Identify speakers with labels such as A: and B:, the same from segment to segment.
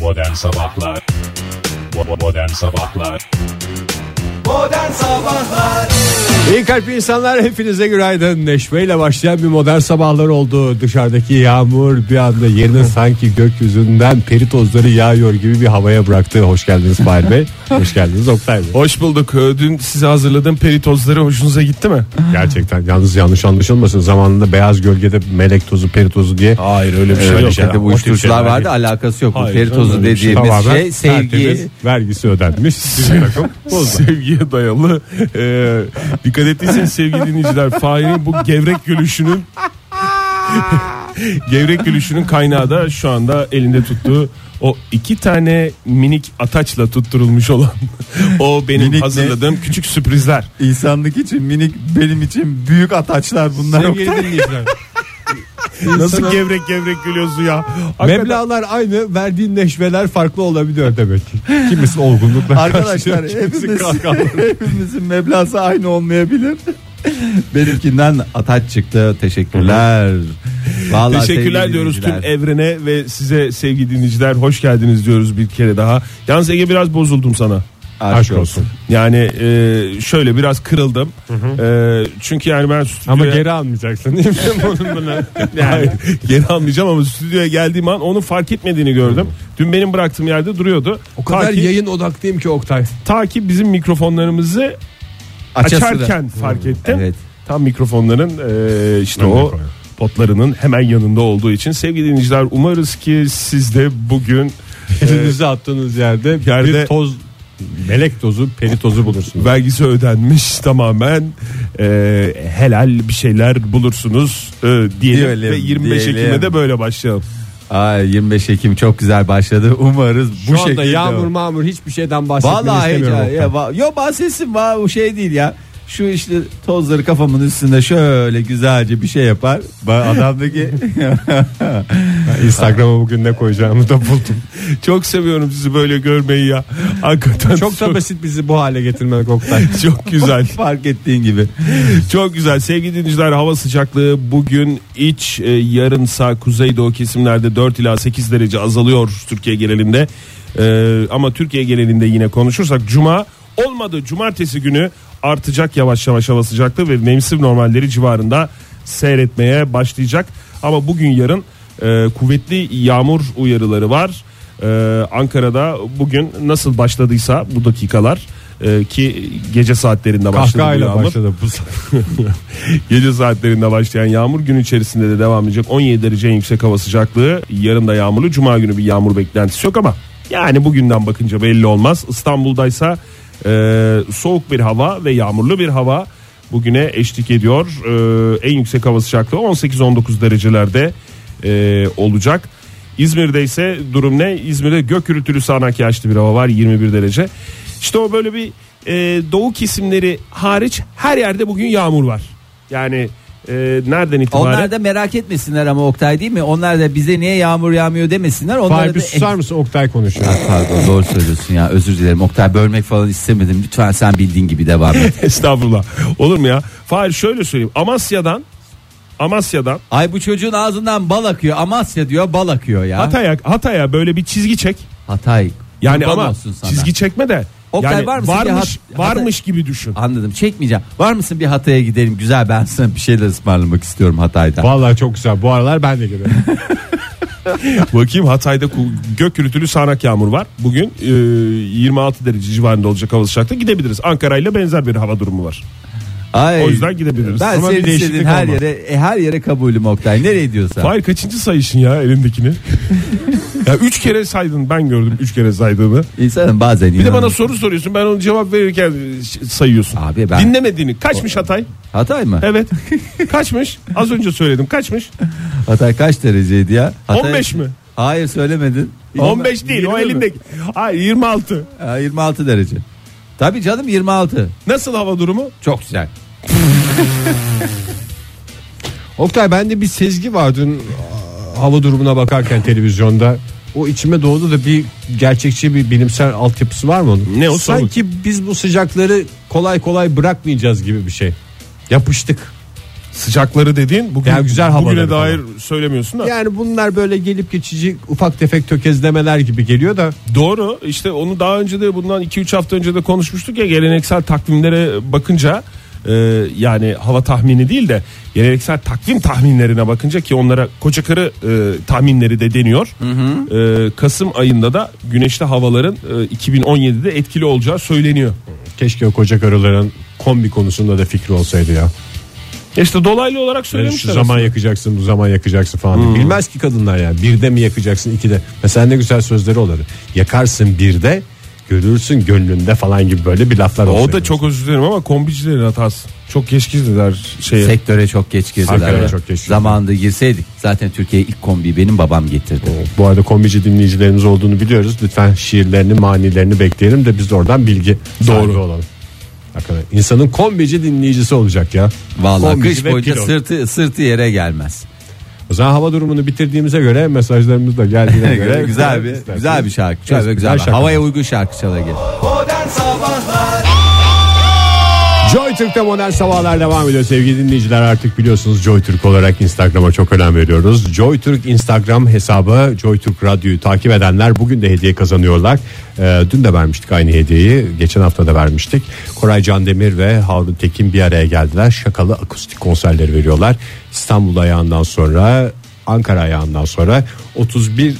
A: Modern Sabahlar Bo- Modern Sabahlar
B: İyi kalpli insanlar hepinize günaydın. Neşveyle başlayan bir modern sabahlar oldu. Dışarıdaki yağmur bir anda yerine sanki gökyüzünden peri tozları yağıyor gibi bir havaya bıraktı. Hoş geldiniz Fahir Bey. Hoş geldiniz Oktay Bey.
C: Hoş bulduk. Ee, Dün size hazırladığım peritozları hoşunuza gitti mi?
B: Gerçekten yalnız yanlış anlaşılmasın. Zamanında beyaz gölgede melek tozu peri tozu diye.
C: Hayır öyle bir
B: şey yok.
D: Tabii
B: O tip
D: uyuşturucular
B: şeyler
D: vardı alakası yok. Bu
C: Hayır,
D: peri tozu
C: öyle bir şey.
D: dediğimiz
B: Tamamen
D: şey sevgi.
B: tertemiz, vergisi ödenmiş. Bir takım bozdu.
C: Sevgiye dayalı. Ee, dikkat ettiyseniz sevgili dinleyiciler Fahir'in bu gevrek gülüşünün gevrek gülüşünün kaynağı da şu anda elinde tuttuğu o iki tane minik ataçla tutturulmuş olan o benim
D: Minik ne?
C: hazırladığım küçük sürprizler.
D: İnsanlık için minik benim için büyük ataçlar bunlar.
C: Nasıl gevrek gevrek gülüyorsun ya? Hakikaten-
B: Meblağlar aynı verdiğin neşveler farklı olabiliyor demek ki. Kimisi olgunlukla
D: Arkadaşlar
B: karşılaşıyor, kimisi
D: hepimiz,
B: kalkanla.
D: hepimizin meblası aynı olmayabilir. Benimkinden ataç çıktı. Teşekkürler. Vallahi
C: Teşekkürler
D: sevgili
C: diyoruz e, tüm
D: dinleyiciler.
C: evrene ve size sevgili dinleyiciler hoş geldiniz diyoruz bir kere daha. Yalnız Ege biraz bozuldum sana.
B: Aşk olsun.
C: Yani e, şöyle biraz kırıldım. E, çünkü yani ben stüdyoya...
B: Ama geri almayacaksın değil mi? Bunun bunu.
C: Hayır, geri almayacağım ama stüdyoya geldiğim an onu fark etmediğini gördüm. Dün benim bıraktığım yerde duruyordu.
B: O kadar
C: ta, ki,
B: yayın odaklıyım ki Oktay.
C: ta ki bizim mikrofonlarımızı
D: Açasını.
C: açarken fark ettim.
D: Evet.
C: Tam mikrofonların e, işte
B: Önüne
C: o
B: koyuyor.
C: potlarının hemen yanında olduğu için sevgili dinleyiciler umarız ki siz de bugün e,
B: Elinizi attığınız yerde,
C: Yerde-
B: bir toz melek tozu, peri tozu bulursunuz.
C: vergisi ödenmiş tamamen e, helal bir şeyler bulursunuz e, diyelim
D: Diyelim,
C: ve 25
D: diyelim.
C: Ekim'e de böyle başlayalım.
D: Ay 25 Ekim çok güzel başladı. Umarız
B: Şu
D: bu
B: anda
D: şekilde.
B: yağmur mağmur hiçbir şeyden bahsetmeni
D: Vallahi
B: istemiyorum.
D: heyecan.
B: Oktay.
D: Ya, va- yo bahsetsin va o şey değil ya. Şu işte tozları kafamın üstünde şöyle güzelce bir şey yapar. Ba- Adamdaki
B: Instagram'a bugün ne koyacağımı da buldum.
C: Çok seviyorum sizi böyle görmeyi ya. Hakikaten
B: Çok da basit bizi bu hale getirmek Oktay.
C: çok güzel.
D: fark ettiğin gibi.
C: Çok güzel sevgili dinleyiciler hava sıcaklığı bugün iç e, yarınsa kuzeydoğu kesimlerde 4 ila 8 derece azalıyor Türkiye genelinde. E, ama Türkiye genelinde yine konuşursak cuma olmadı cumartesi günü artacak yavaş yavaş hava sıcaklığı ve mevsim normalleri civarında seyretmeye başlayacak. Ama bugün yarın e, kuvvetli yağmur uyarıları var. E, Ankara'da bugün nasıl başladıysa bu dakikalar e, ki gece saatlerinde başladı bu
B: Kahkahayla
C: yağmur.
B: başladı bu sabah.
C: Gece saatlerinde başlayan yağmur gün içerisinde de devam edecek. 17 derece en yüksek hava sıcaklığı. Yarın da yağmurlu. Cuma günü bir yağmur beklentisi yok ama yani bugünden bakınca belli olmaz. İstanbul'daysa e, soğuk bir hava ve yağmurlu bir hava bugüne eşlik ediyor. E, en yüksek hava sıcaklığı 18-19 derecelerde e, olacak. İzmir'de ise durum ne? İzmir'de gök gürültülü sağanak yağışlı bir hava var 21 derece. İşte o böyle bir e, doğu kesimleri hariç her yerde bugün yağmur var. Yani e, nereden itibaren?
D: Onlar da merak etmesinler ama Oktay değil mi? Onlar da bize niye yağmur yağmıyor demesinler. Onlar
B: Fahir
D: da
B: bir susar mısın Oktay konuşuyor.
D: Ah, Pardon doğru söylüyorsun ya özür dilerim Oktay bölmek falan istemedim lütfen sen bildiğin gibi devam et.
C: Estağfurullah. Olur mu ya? Fahir şöyle söyleyeyim. Amasya'dan Amasya'dan
D: Ay bu çocuğun ağzından bal akıyor Amasya diyor bal akıyor ya.
C: Hatay'a Hatay'a böyle bir çizgi çek.
D: Hatay.
C: Yani
D: Kurban
C: ama
D: olsun sana.
C: çizgi çekme de
D: Oktay,
C: yani
D: var mısın ki
C: varmış
D: Hat-
C: varmış gibi düşün.
D: Anladım çekmeyeceğim. Var mısın bir Hatay'a gidelim güzel ben sana bir şeyler ısmarlamak istiyorum Hatay'da.
B: Vallahi çok güzel. Bu aralar ben de geliyorum.
C: Bakayım Hatay'da ku- gök gürültülü sağanak yağmur var. Bugün e, 26 derece civarında olacak hava sıcaklığı gidebiliriz. Ankara ile benzer bir hava durumu var.
D: Ay,
C: O yüzden gidebiliriz.
D: Ben
C: Ama bir
D: senin
C: değişiklik
D: istediğin her
C: olmaz.
D: yere e, her yere kabulüm Oktay. Nereye diyorsan.
C: Fahir kaçıncı sayışın ya elindekini? ya üç kere saydın ben gördüm üç kere saydığını.
D: İnsanın bazen
C: Bir de bana
D: inanır.
C: soru soruyorsun ben onu cevap verirken ş- sayıyorsun.
D: Abi ben-
C: Dinlemediğini kaçmış Hatay?
D: Hatay mı?
C: Evet. kaçmış? Az önce söyledim kaçmış?
D: Hatay kaç dereceydi ya? Hatay...
C: 15 mi?
D: Hayır söylemedin.
C: 15 değil o
B: 20 mi?
C: elindeki. Hayır 26.
D: Ha, 26 derece. Tabii canım 26.
C: Nasıl hava durumu?
D: Çok güzel.
B: Oktay bende bir sezgi var dün a- hava durumuna bakarken televizyonda. O içime doğdu da bir gerçekçi bir bilimsel altyapısı var mı onun?
C: Ne o?
B: Sanki biz bu sıcakları kolay kolay bırakmayacağız gibi bir şey. Yapıştık.
C: Sıcakları dediğin bugün
B: Yani güzel
C: bugüne
B: havaları falan.
C: dair söylemiyorsun da.
B: Yani bunlar böyle gelip geçici ufak tefek tökezlemeler gibi geliyor da
C: Doğru işte onu daha önce de bundan 2-3 hafta önce de konuşmuştuk ya geleneksel takvimlere bakınca e, yani hava tahmini değil de geleneksel takvim tahminlerine bakınca ki onlara koca karı e, tahminleri de deniyor. E, Kasım ayında da güneşli havaların e, 2017'de etkili olacağı söyleniyor.
B: keşke o koca karıların kombi konusunda da fikri olsaydı ya.
C: İşte dolaylı olarak
B: Yani
C: söylemişler.
B: şu zaman yakacaksın bu zaman yakacaksın falan.
D: Hmm.
B: diye. Bilmez ki kadınlar yani. Birde mi yakacaksın ikide. Mesela ne güzel sözleri olardı. Yakarsın birde görürsün gönlünde falan gibi böyle bir laflar
C: aslında. O
B: olsaydı.
C: da çok özür dilerim ama kombicilerin hatası. Çok geç girdiler şeye.
D: Sektöre çok geç girdiler.
B: Sektöre
D: ya.
B: çok geç girdiler.
D: Zamanında girseydik zaten Türkiye'ye ilk kombiyi benim babam getirdi.
B: Bu arada kombici dinleyicilerimiz olduğunu biliyoruz. Lütfen şiirlerini, manilerini bekleyelim de biz de oradan bilgi doğru olalım. Hakikaten insanın kombici dinleyicisi olacak ya.
D: Vallahi
B: Kombici
D: kış
B: ve
D: boyunca
B: pilot.
D: sırtı sırtı yere gelmez.
B: O zaman hava durumunu bitirdiğimize göre mesajlarımız da geldiğine göre
D: güzel bir
B: İsterseniz-
D: güzel bir şarkı. Güzel,
B: Güzel
D: güzel, bir-
B: şarkı.
D: Havaya uygun şarkı çala gel.
B: Joy Türk'te modern sabahlar devam ediyor sevgili dinleyiciler artık biliyorsunuz Joy Türk olarak Instagram'a çok önem veriyoruz. Joy Türk Instagram hesabı Joy Türk Radyo'yu takip edenler bugün de hediye kazanıyorlar. Ee, dün de vermiştik aynı hediyeyi geçen hafta da vermiştik. Koray Candemir ve Harun Tekin bir araya geldiler şakalı akustik konserleri veriyorlar. İstanbul ayağından sonra Ankara ayağından sonra 31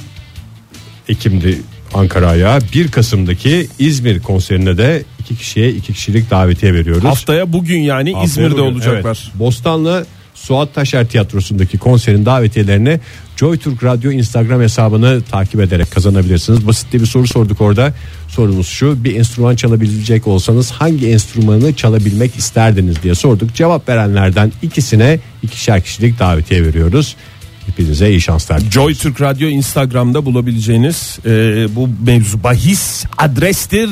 B: Ekim'de Ankara'ya 1 Kasım'daki İzmir konserine de iki kişiye iki kişilik davetiye veriyoruz.
C: Haftaya bugün yani
B: Haftaya
C: İzmir'de
B: bugün,
C: olacaklar.
B: evet. Bostanlı Suat Taşer Tiyatrosu'ndaki konserin davetiyelerini Joy Türk Radyo Instagram hesabını takip ederek kazanabilirsiniz. Basit bir soru sorduk orada. Sorumuz şu bir enstrüman çalabilecek olsanız hangi enstrümanı çalabilmek isterdiniz diye sorduk. Cevap verenlerden ikisine ikişer kişilik davetiye veriyoruz. Hepinize iyi şanslar.
C: Joy Türk Radyo Instagram'da bulabileceğiniz e, bu mevzu bahis adrestir.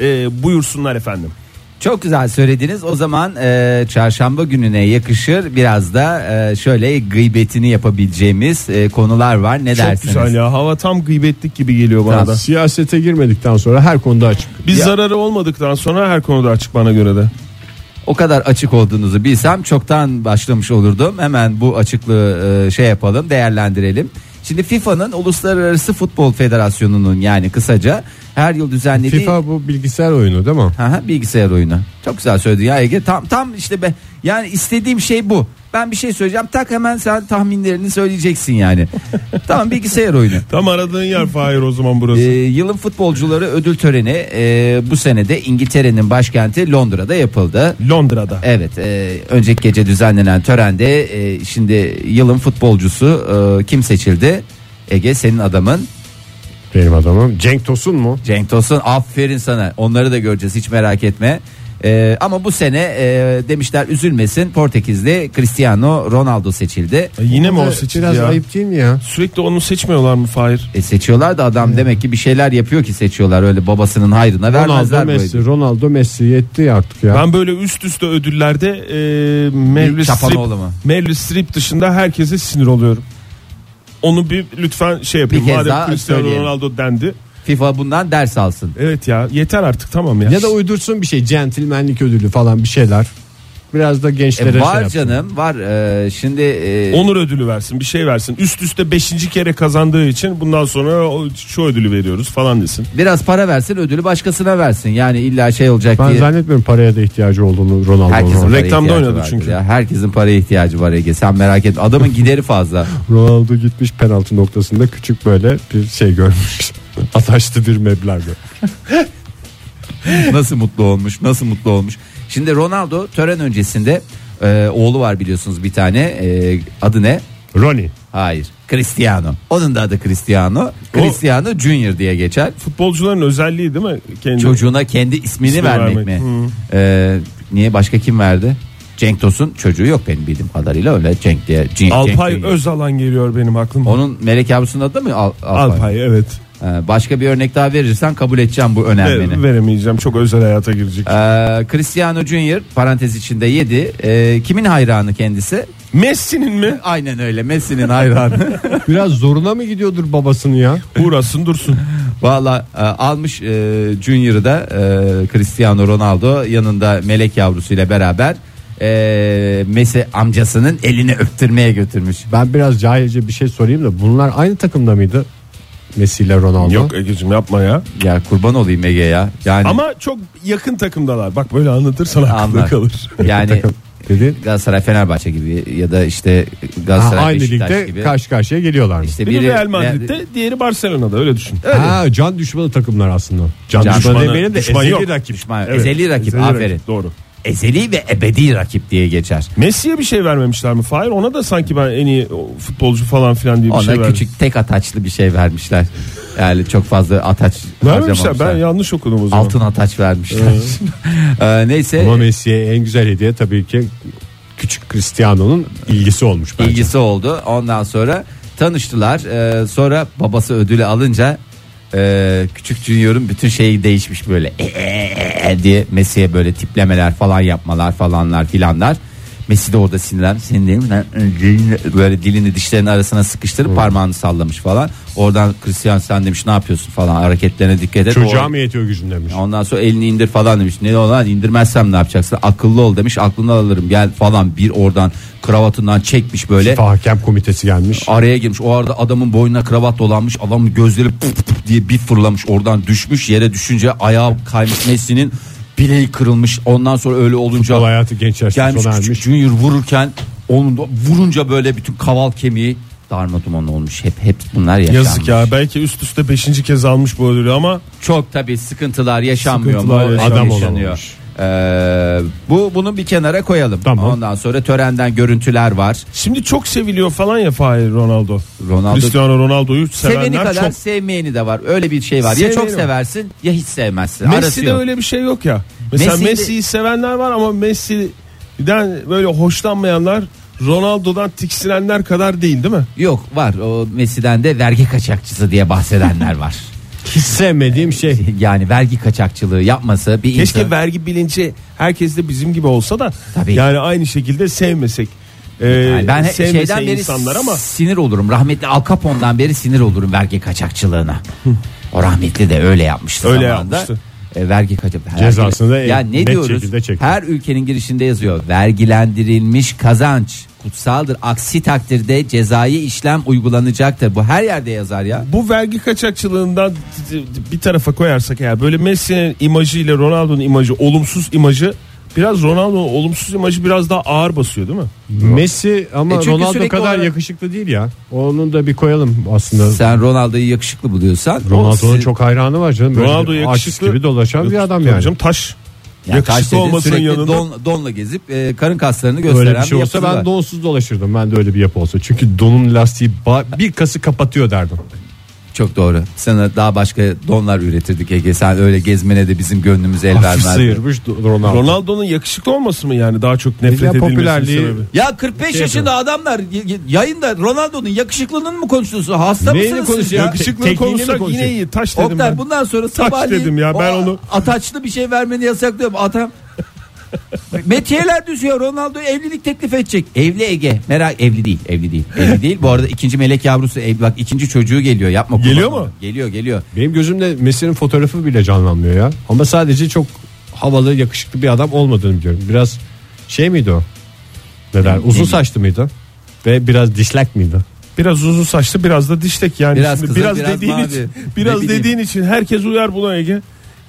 C: E, buyursunlar efendim.
D: Çok güzel söylediniz. O zaman e, çarşamba gününe yakışır biraz da e, şöyle gıybetini yapabileceğimiz e, konular var. Ne
C: Çok
D: dersiniz?
C: güzel ya. Hava tam gıybetlik gibi geliyor bana
D: Tamam.
C: da.
B: Siyasete girmedikten sonra her konuda açık.
C: Biz
D: Ya.
C: zararı olmadıktan sonra her konuda açık bana göre de.
D: O kadar açık olduğunuzu bilsem çoktan başlamış olurdum. Hemen bu açıklığı e, şey yapalım, değerlendirelim. Şimdi FIFA'nın Uluslararası Futbol Federasyonu'nun yani kısaca her yıl düzenlediği
B: FIFA bu bilgisayar oyunu değil mi?
D: Hı hı, bilgisayar oyunu. Çok güzel söyledin ya Ege. Tam tam işte be yani istediğim şey bu. Ben bir şey söyleyeceğim. Tak hemen sen tahminlerini söyleyeceksin yani. tamam bilgisayar oyunu.
C: Tam aradığın yer Fahir o zaman burası.
D: Ee, yılın futbolcuları ödül töreni e, bu senede İngiltere'nin başkenti Londra'da yapıldı.
C: Londra'da.
D: Evet, e, önceki gece düzenlenen törende e, şimdi yılın futbolcusu e, kim seçildi? Ege senin adamın
B: Benim adamım. Cenk Tosun mu?
D: Cenk Tosun. Aferin sana. Onları da göreceğiz hiç merak etme. E, ama bu sene e, demişler üzülmesin Portekizli Cristiano Ronaldo seçildi.
C: E, Yine mi o
B: Biraz
C: seçildi
B: Biraz
C: ya?
B: ayıp değil mi ya?
C: Sürekli onu seçmiyorlar mı Fahir?
D: E, seçiyorlar da adam demek ki bir şeyler yapıyor ki seçiyorlar öyle babasının hayrına vermezler
B: Ronaldo
D: böyle.
B: Messi, Ronaldo Messi yetti ya artık ya.
C: Ben böyle üst üste ödüllerde e, Meryl, Streep,
D: Çapanoğlu mu?
C: Meryl Streep dışında herkese sinir oluyorum. Onu bir lütfen şey yapayım.
D: Bir kez
C: Madem
D: daha
C: Cristiano
D: söyleyelim.
C: Ronaldo dendi.
D: FIFA bundan ders alsın. E,
C: Evet ya yeter artık tamam ya.
B: Ya da uydursun bir şey, centilmenlik ödülü falan bir şeyler. Biraz da
D: E,
B: gençlere şey
D: var
B: yapsın.
D: canım var E, şimdi e,
C: Onur ödülü versin bir şey versin. Üst üste beşinci kere kazandığı için bundan sonra o- şu ödülü veriyoruz falan desin.
D: biraz para versin ödülü başkasına versin. Yani illa şey olacak
B: Ben
D: diye.
B: zannetmiyorum paraya da ihtiyacı olduğunu
D: Herkesin
B: Ronaldo'nun.
D: paraya
C: Reklamda
D: ihtiyacı
C: oynadı
D: vardır
C: çünkü.
D: Ya. Herkesin paraya ihtiyacı var Ege. Sen merak etme. Adamın gideri fazla.
B: Ronaldo gitmiş penaltı noktasında küçük böyle bir şey görmüş. Ataştı bir meblağda.
D: nasıl mutlu olmuş? Nasıl mutlu olmuş? Şimdi Ronaldo tören öncesinde e, oğlu var biliyorsunuz bir tane. E, adı ne?
B: Ronnie.
D: Hayır. Cristiano. Onun da adı Cristiano. Cristiano Junior diye geçer.
C: Futbolcuların özelliği değil mi? Kendi
D: Çocuğuna kendi ismini
C: İsmi
D: vermek,
C: vermek.
D: mi? E, niye başka kim verdi? Cenk Tosun çocuğu yok benim bildiğim kadarıyla öyle Cenk diye. Cenk,
C: Alpay
D: Cenk-
C: Özalan geliyor benim aklıma.
D: Onun Melek yavrusunun adı mı? Al- Alpay.
C: Alpay evet.
D: Ee, Başka bir örnek daha verirsen kabul edeceğim bu
C: Ver-
D: önermeni.
C: veremeyeceğim çok özel hayata girecek.
D: Ee, Cristiano Junior parantez içinde 7. Ee, kimin hayranı kendisi?
C: Messi'nin mi?
D: Aynen öyle Messi'nin hayranı.
B: Biraz zoruna mı gidiyordur babasını ya?
C: Uğrasın dursun.
D: Valla e, almış e, Junior'ı da e, Cristiano Ronaldo yanında melek yavrusuyla beraber e, Messi amcasının elini öptürmeye götürmüş.
B: Ben biraz cahilce bir şey sorayım da bunlar aynı takımda mıydı? Messi ile Ronaldo.
C: Yok Ege'cim yapma ya.
D: Ya kurban olayım Ege ya. Yani
C: Ama çok yakın takımdalar. Bak böyle anlatırsan aklında
D: Anlar. E,
C: kalır.
D: yani
B: Takım dedi.
D: Galatasaray Fenerbahçe gibi ya da işte
B: Ha,
D: Galatasaray
B: aynı
D: Beşiktaş
B: ligde
D: gibi.
B: karşı karşıya geliyorlar mı?
D: İşte
C: Biri Real Madrid'de, diğeri Barcelona'da öyle düşün.
B: Ha, can düşmanı takımlar aslında. Can,
D: Can
B: düşmanı,
C: düşmanı-
B: demeyelim de
C: düşman
B: ezeli
C: yok.
B: rakip.
D: Düşman- ezeli rakip
C: Ezeli
D: aferin.
C: Doğru.
D: Ezeli ve ebedi rakip diye geçer.
C: Messi'ye bir şey vermemişler mi? Fahir ona da sanki ben en iyi o, futbolcu falan filan diye bir
D: Ona
C: şey verdim.
D: küçük tek ataçlı bir şey vermişler. Yani çok fazla ataç
C: Vermemişler ben
D: harcamamışlar.
C: yanlış okudum o zaman.
D: Altın ataç vermişler. Ee, Neyse
B: Ama Messi'ye en güzel hediye tabii ki küçük Cristiano'nun ilgisi olmuş bence.
D: ilgisi oldu. Ondan sonra tanıştılar. Ee, sonra babası ödülü alınca e, küçük Junior'un bütün şeyi değişmiş böyle "E, e, e" diye Messi'ye böyle tiplemeler falan yapmalar falanlar filanlar. Messi de orada sinirlen senin değil mi lan? böyle dilini dişlerinin arasına sıkıştırıp parmağını sallamış falan. Oradan Christian sen demiş ne yapıyorsun falan hareketlerine dikkat et.
B: Çocuğa
D: O-
B: mı yetiyor gücün demiş.
D: Ondan sonra elini indir falan demiş. Ne olan indirmezsem ne yapacaksın? Akıllı ol demiş. Aklını alırım gel falan. Bir oradan kravatından çekmiş böyle.
B: FIFA hakem komitesi gelmiş.
D: Araya girmiş. O arada adamın boynuna kravat dolanmış. Adamın gözleri puf puf diye bir fırlamış. Oradan düşmüş. Yere düşünce ayağı kaymış. Messi'nin bileği kırılmış. Ondan sonra öyle olunca
B: Futbol hayatı genç yaşta
D: gelmiş
B: sona
D: küçük
B: ermiş.
D: Junior vururken onun da vurunca böyle bütün kaval kemiği darma duman olmuş. Hep hep bunlar yaşanmış.
C: Yazık ya belki üst üste 5. kez almış bu ödülü ama
D: çok tabi sıkıntılar yaşanmıyor
C: Sıkıntılar
D: mu?
C: yaşanmıyor.
D: Adam
B: Adam
D: yaşanıyor.
B: olamamış.
D: Ee, bu bunu bir kenara koyalım.
B: Tamam.
D: Ondan sonra törenden görüntüler var.
C: şimdi çok seviliyor falan ya Fahir Ronaldo.
D: Ronaldo
C: Cristiano Ronaldo'yu
D: seveni
C: sevenler
D: kadar
C: çok.
D: sevmeyeni de var. Öyle bir şey var.
C: Seveni
D: ya çok
C: var.
D: seversin ya hiç sevmezsin. Arası
C: Messi'de
D: yok.
C: öyle bir şey yok ya. Mesela
D: Messi'de-
C: Messi'yi sevenler var ama Messi'den böyle hoşlanmayanlar Ronaldo'dan tiksinenler kadar değil değil mi?
D: Yok var. O Messi'den de vergi kaçakçısı diye bahsedenler var.
B: Hiç sevmediğim şey.
D: yani vergi kaçakçılığı yapması bir
C: Keşke
D: insan.
C: vergi bilinci herkes de bizim gibi olsa da
D: Tabii.
C: yani aynı şekilde sevmesek. Ee,
D: Yani ben he-
C: sevmese
D: şeyden beri
C: insanlar ama
D: sinir olurum. Rahmetli Al Capone'dan beri sinir olurum vergi kaçakçılığına. o rahmetli de öyle yapmıştı
C: Öyle
D: zamanında.
C: yapmıştı.
D: E, vergi kaçakçılığı.
B: Cezasını da
D: ya
B: en
D: ne
B: net
D: diyoruz?
B: şekilde çekti.
D: Her ülkenin girişinde yazıyor. Vergilendirilmiş kazanç kutsaldır. Aksi takdirde cezai işlem uygulanacaktır. Bu her yerde yazar ya.
C: bu vergi kaçakçılığından bir tarafa koyarsak eğer böyle Messi'nin imajı ile Ronaldo'nun imajı olumsuz imajı biraz Ronaldo'nun olumsuz imajı biraz daha ağır basıyor değil mi?
B: Messi ama
D: E çünkü
B: Ronaldo
D: sürekli
B: kadar
D: olarak-
B: yakışıklı değil ya. Onu da bir koyalım aslında.
D: Sen Ronaldo'yu yakışıklı buluyorsan
B: Ronaldo'nun
D: siz-
B: çok hayranı var canım. Böyle
C: Ronaldo
B: artist
C: yakışıklı
B: gibi dolaşan bir adam
C: Tabii
B: yani.
C: canım, taş.
D: Ya karşı
C: yakışıklı
D: dedi,
C: olmasının
D: sürekli
C: yanında
D: don- donla gezip e, karın kaslarını gösteren
B: Öyle bir şey olsa
D: yapısı var.
B: ben donsuz dolaşırdım. Ben de öyle bir yapı olsa. Çünkü donun lastiği ba- bir kası kapatıyor derdim.
D: Çok doğru. Sana daha başka donlar üretirdik Ege. Sen öyle gezmene de bizim gönlümüz el
B: Hafif
D: vermezdi.
B: sıyırmış Do- Ronaldo.
C: Ronaldo'nun yakışıklı olması mı yani daha çok nefret
B: Ya
C: edilmesinin
B: popülerliği-
C: sebebi?
D: Ya 45
C: Şey
D: yaşında adamlar y- y- yayında Ronaldo'nun yakışıklılığını mı konuşuyorsun? Hasta
B: Neyini
D: mısınız siz
B: konuşuyor?
D: ya?
B: Yakışık-
C: Yakışıklı
B: Tekniğini
C: konuşsak
B: mi
C: yine
B: konuşuyor?
C: iyi. Taş dedim
D: Oktay
C: ben.
D: bundan sonra sabahleyin
C: dedim ya, ben
D: o
C: onu-
D: ataçlı bir şey vermeni yasaklıyorum. Adam Metiyeler düşüyor. Ronaldo evlilik teklif edecek. Evli Ege. Merak evli değil. Evli değil. Evli değil. Bu arada ikinci melek yavrusu evli. Bak ikinci çocuğu geliyor. Yapma. kurban
C: Geliyor mu?
D: olayım. Geliyor geliyor.
B: Benim gözümde Messi'nin fotoğrafı bile canlanmıyor ya. Ama sadece çok havalı yakışıklı bir adam olmadığını biliyorum. Biraz şey miydi o? Neler? Uzun
D: bileyim.
B: saçlı mıydı? Ve biraz dislek miydi?
C: Biraz uzun saçlı biraz da dişlek yani.
D: Biraz
C: Şimdi
D: kızıl,
C: biraz,
D: biraz
C: dediğin
D: mavi.
C: için,
D: Ne
C: biraz
D: bileyim.
C: dediğin için herkes uyar buna Ege.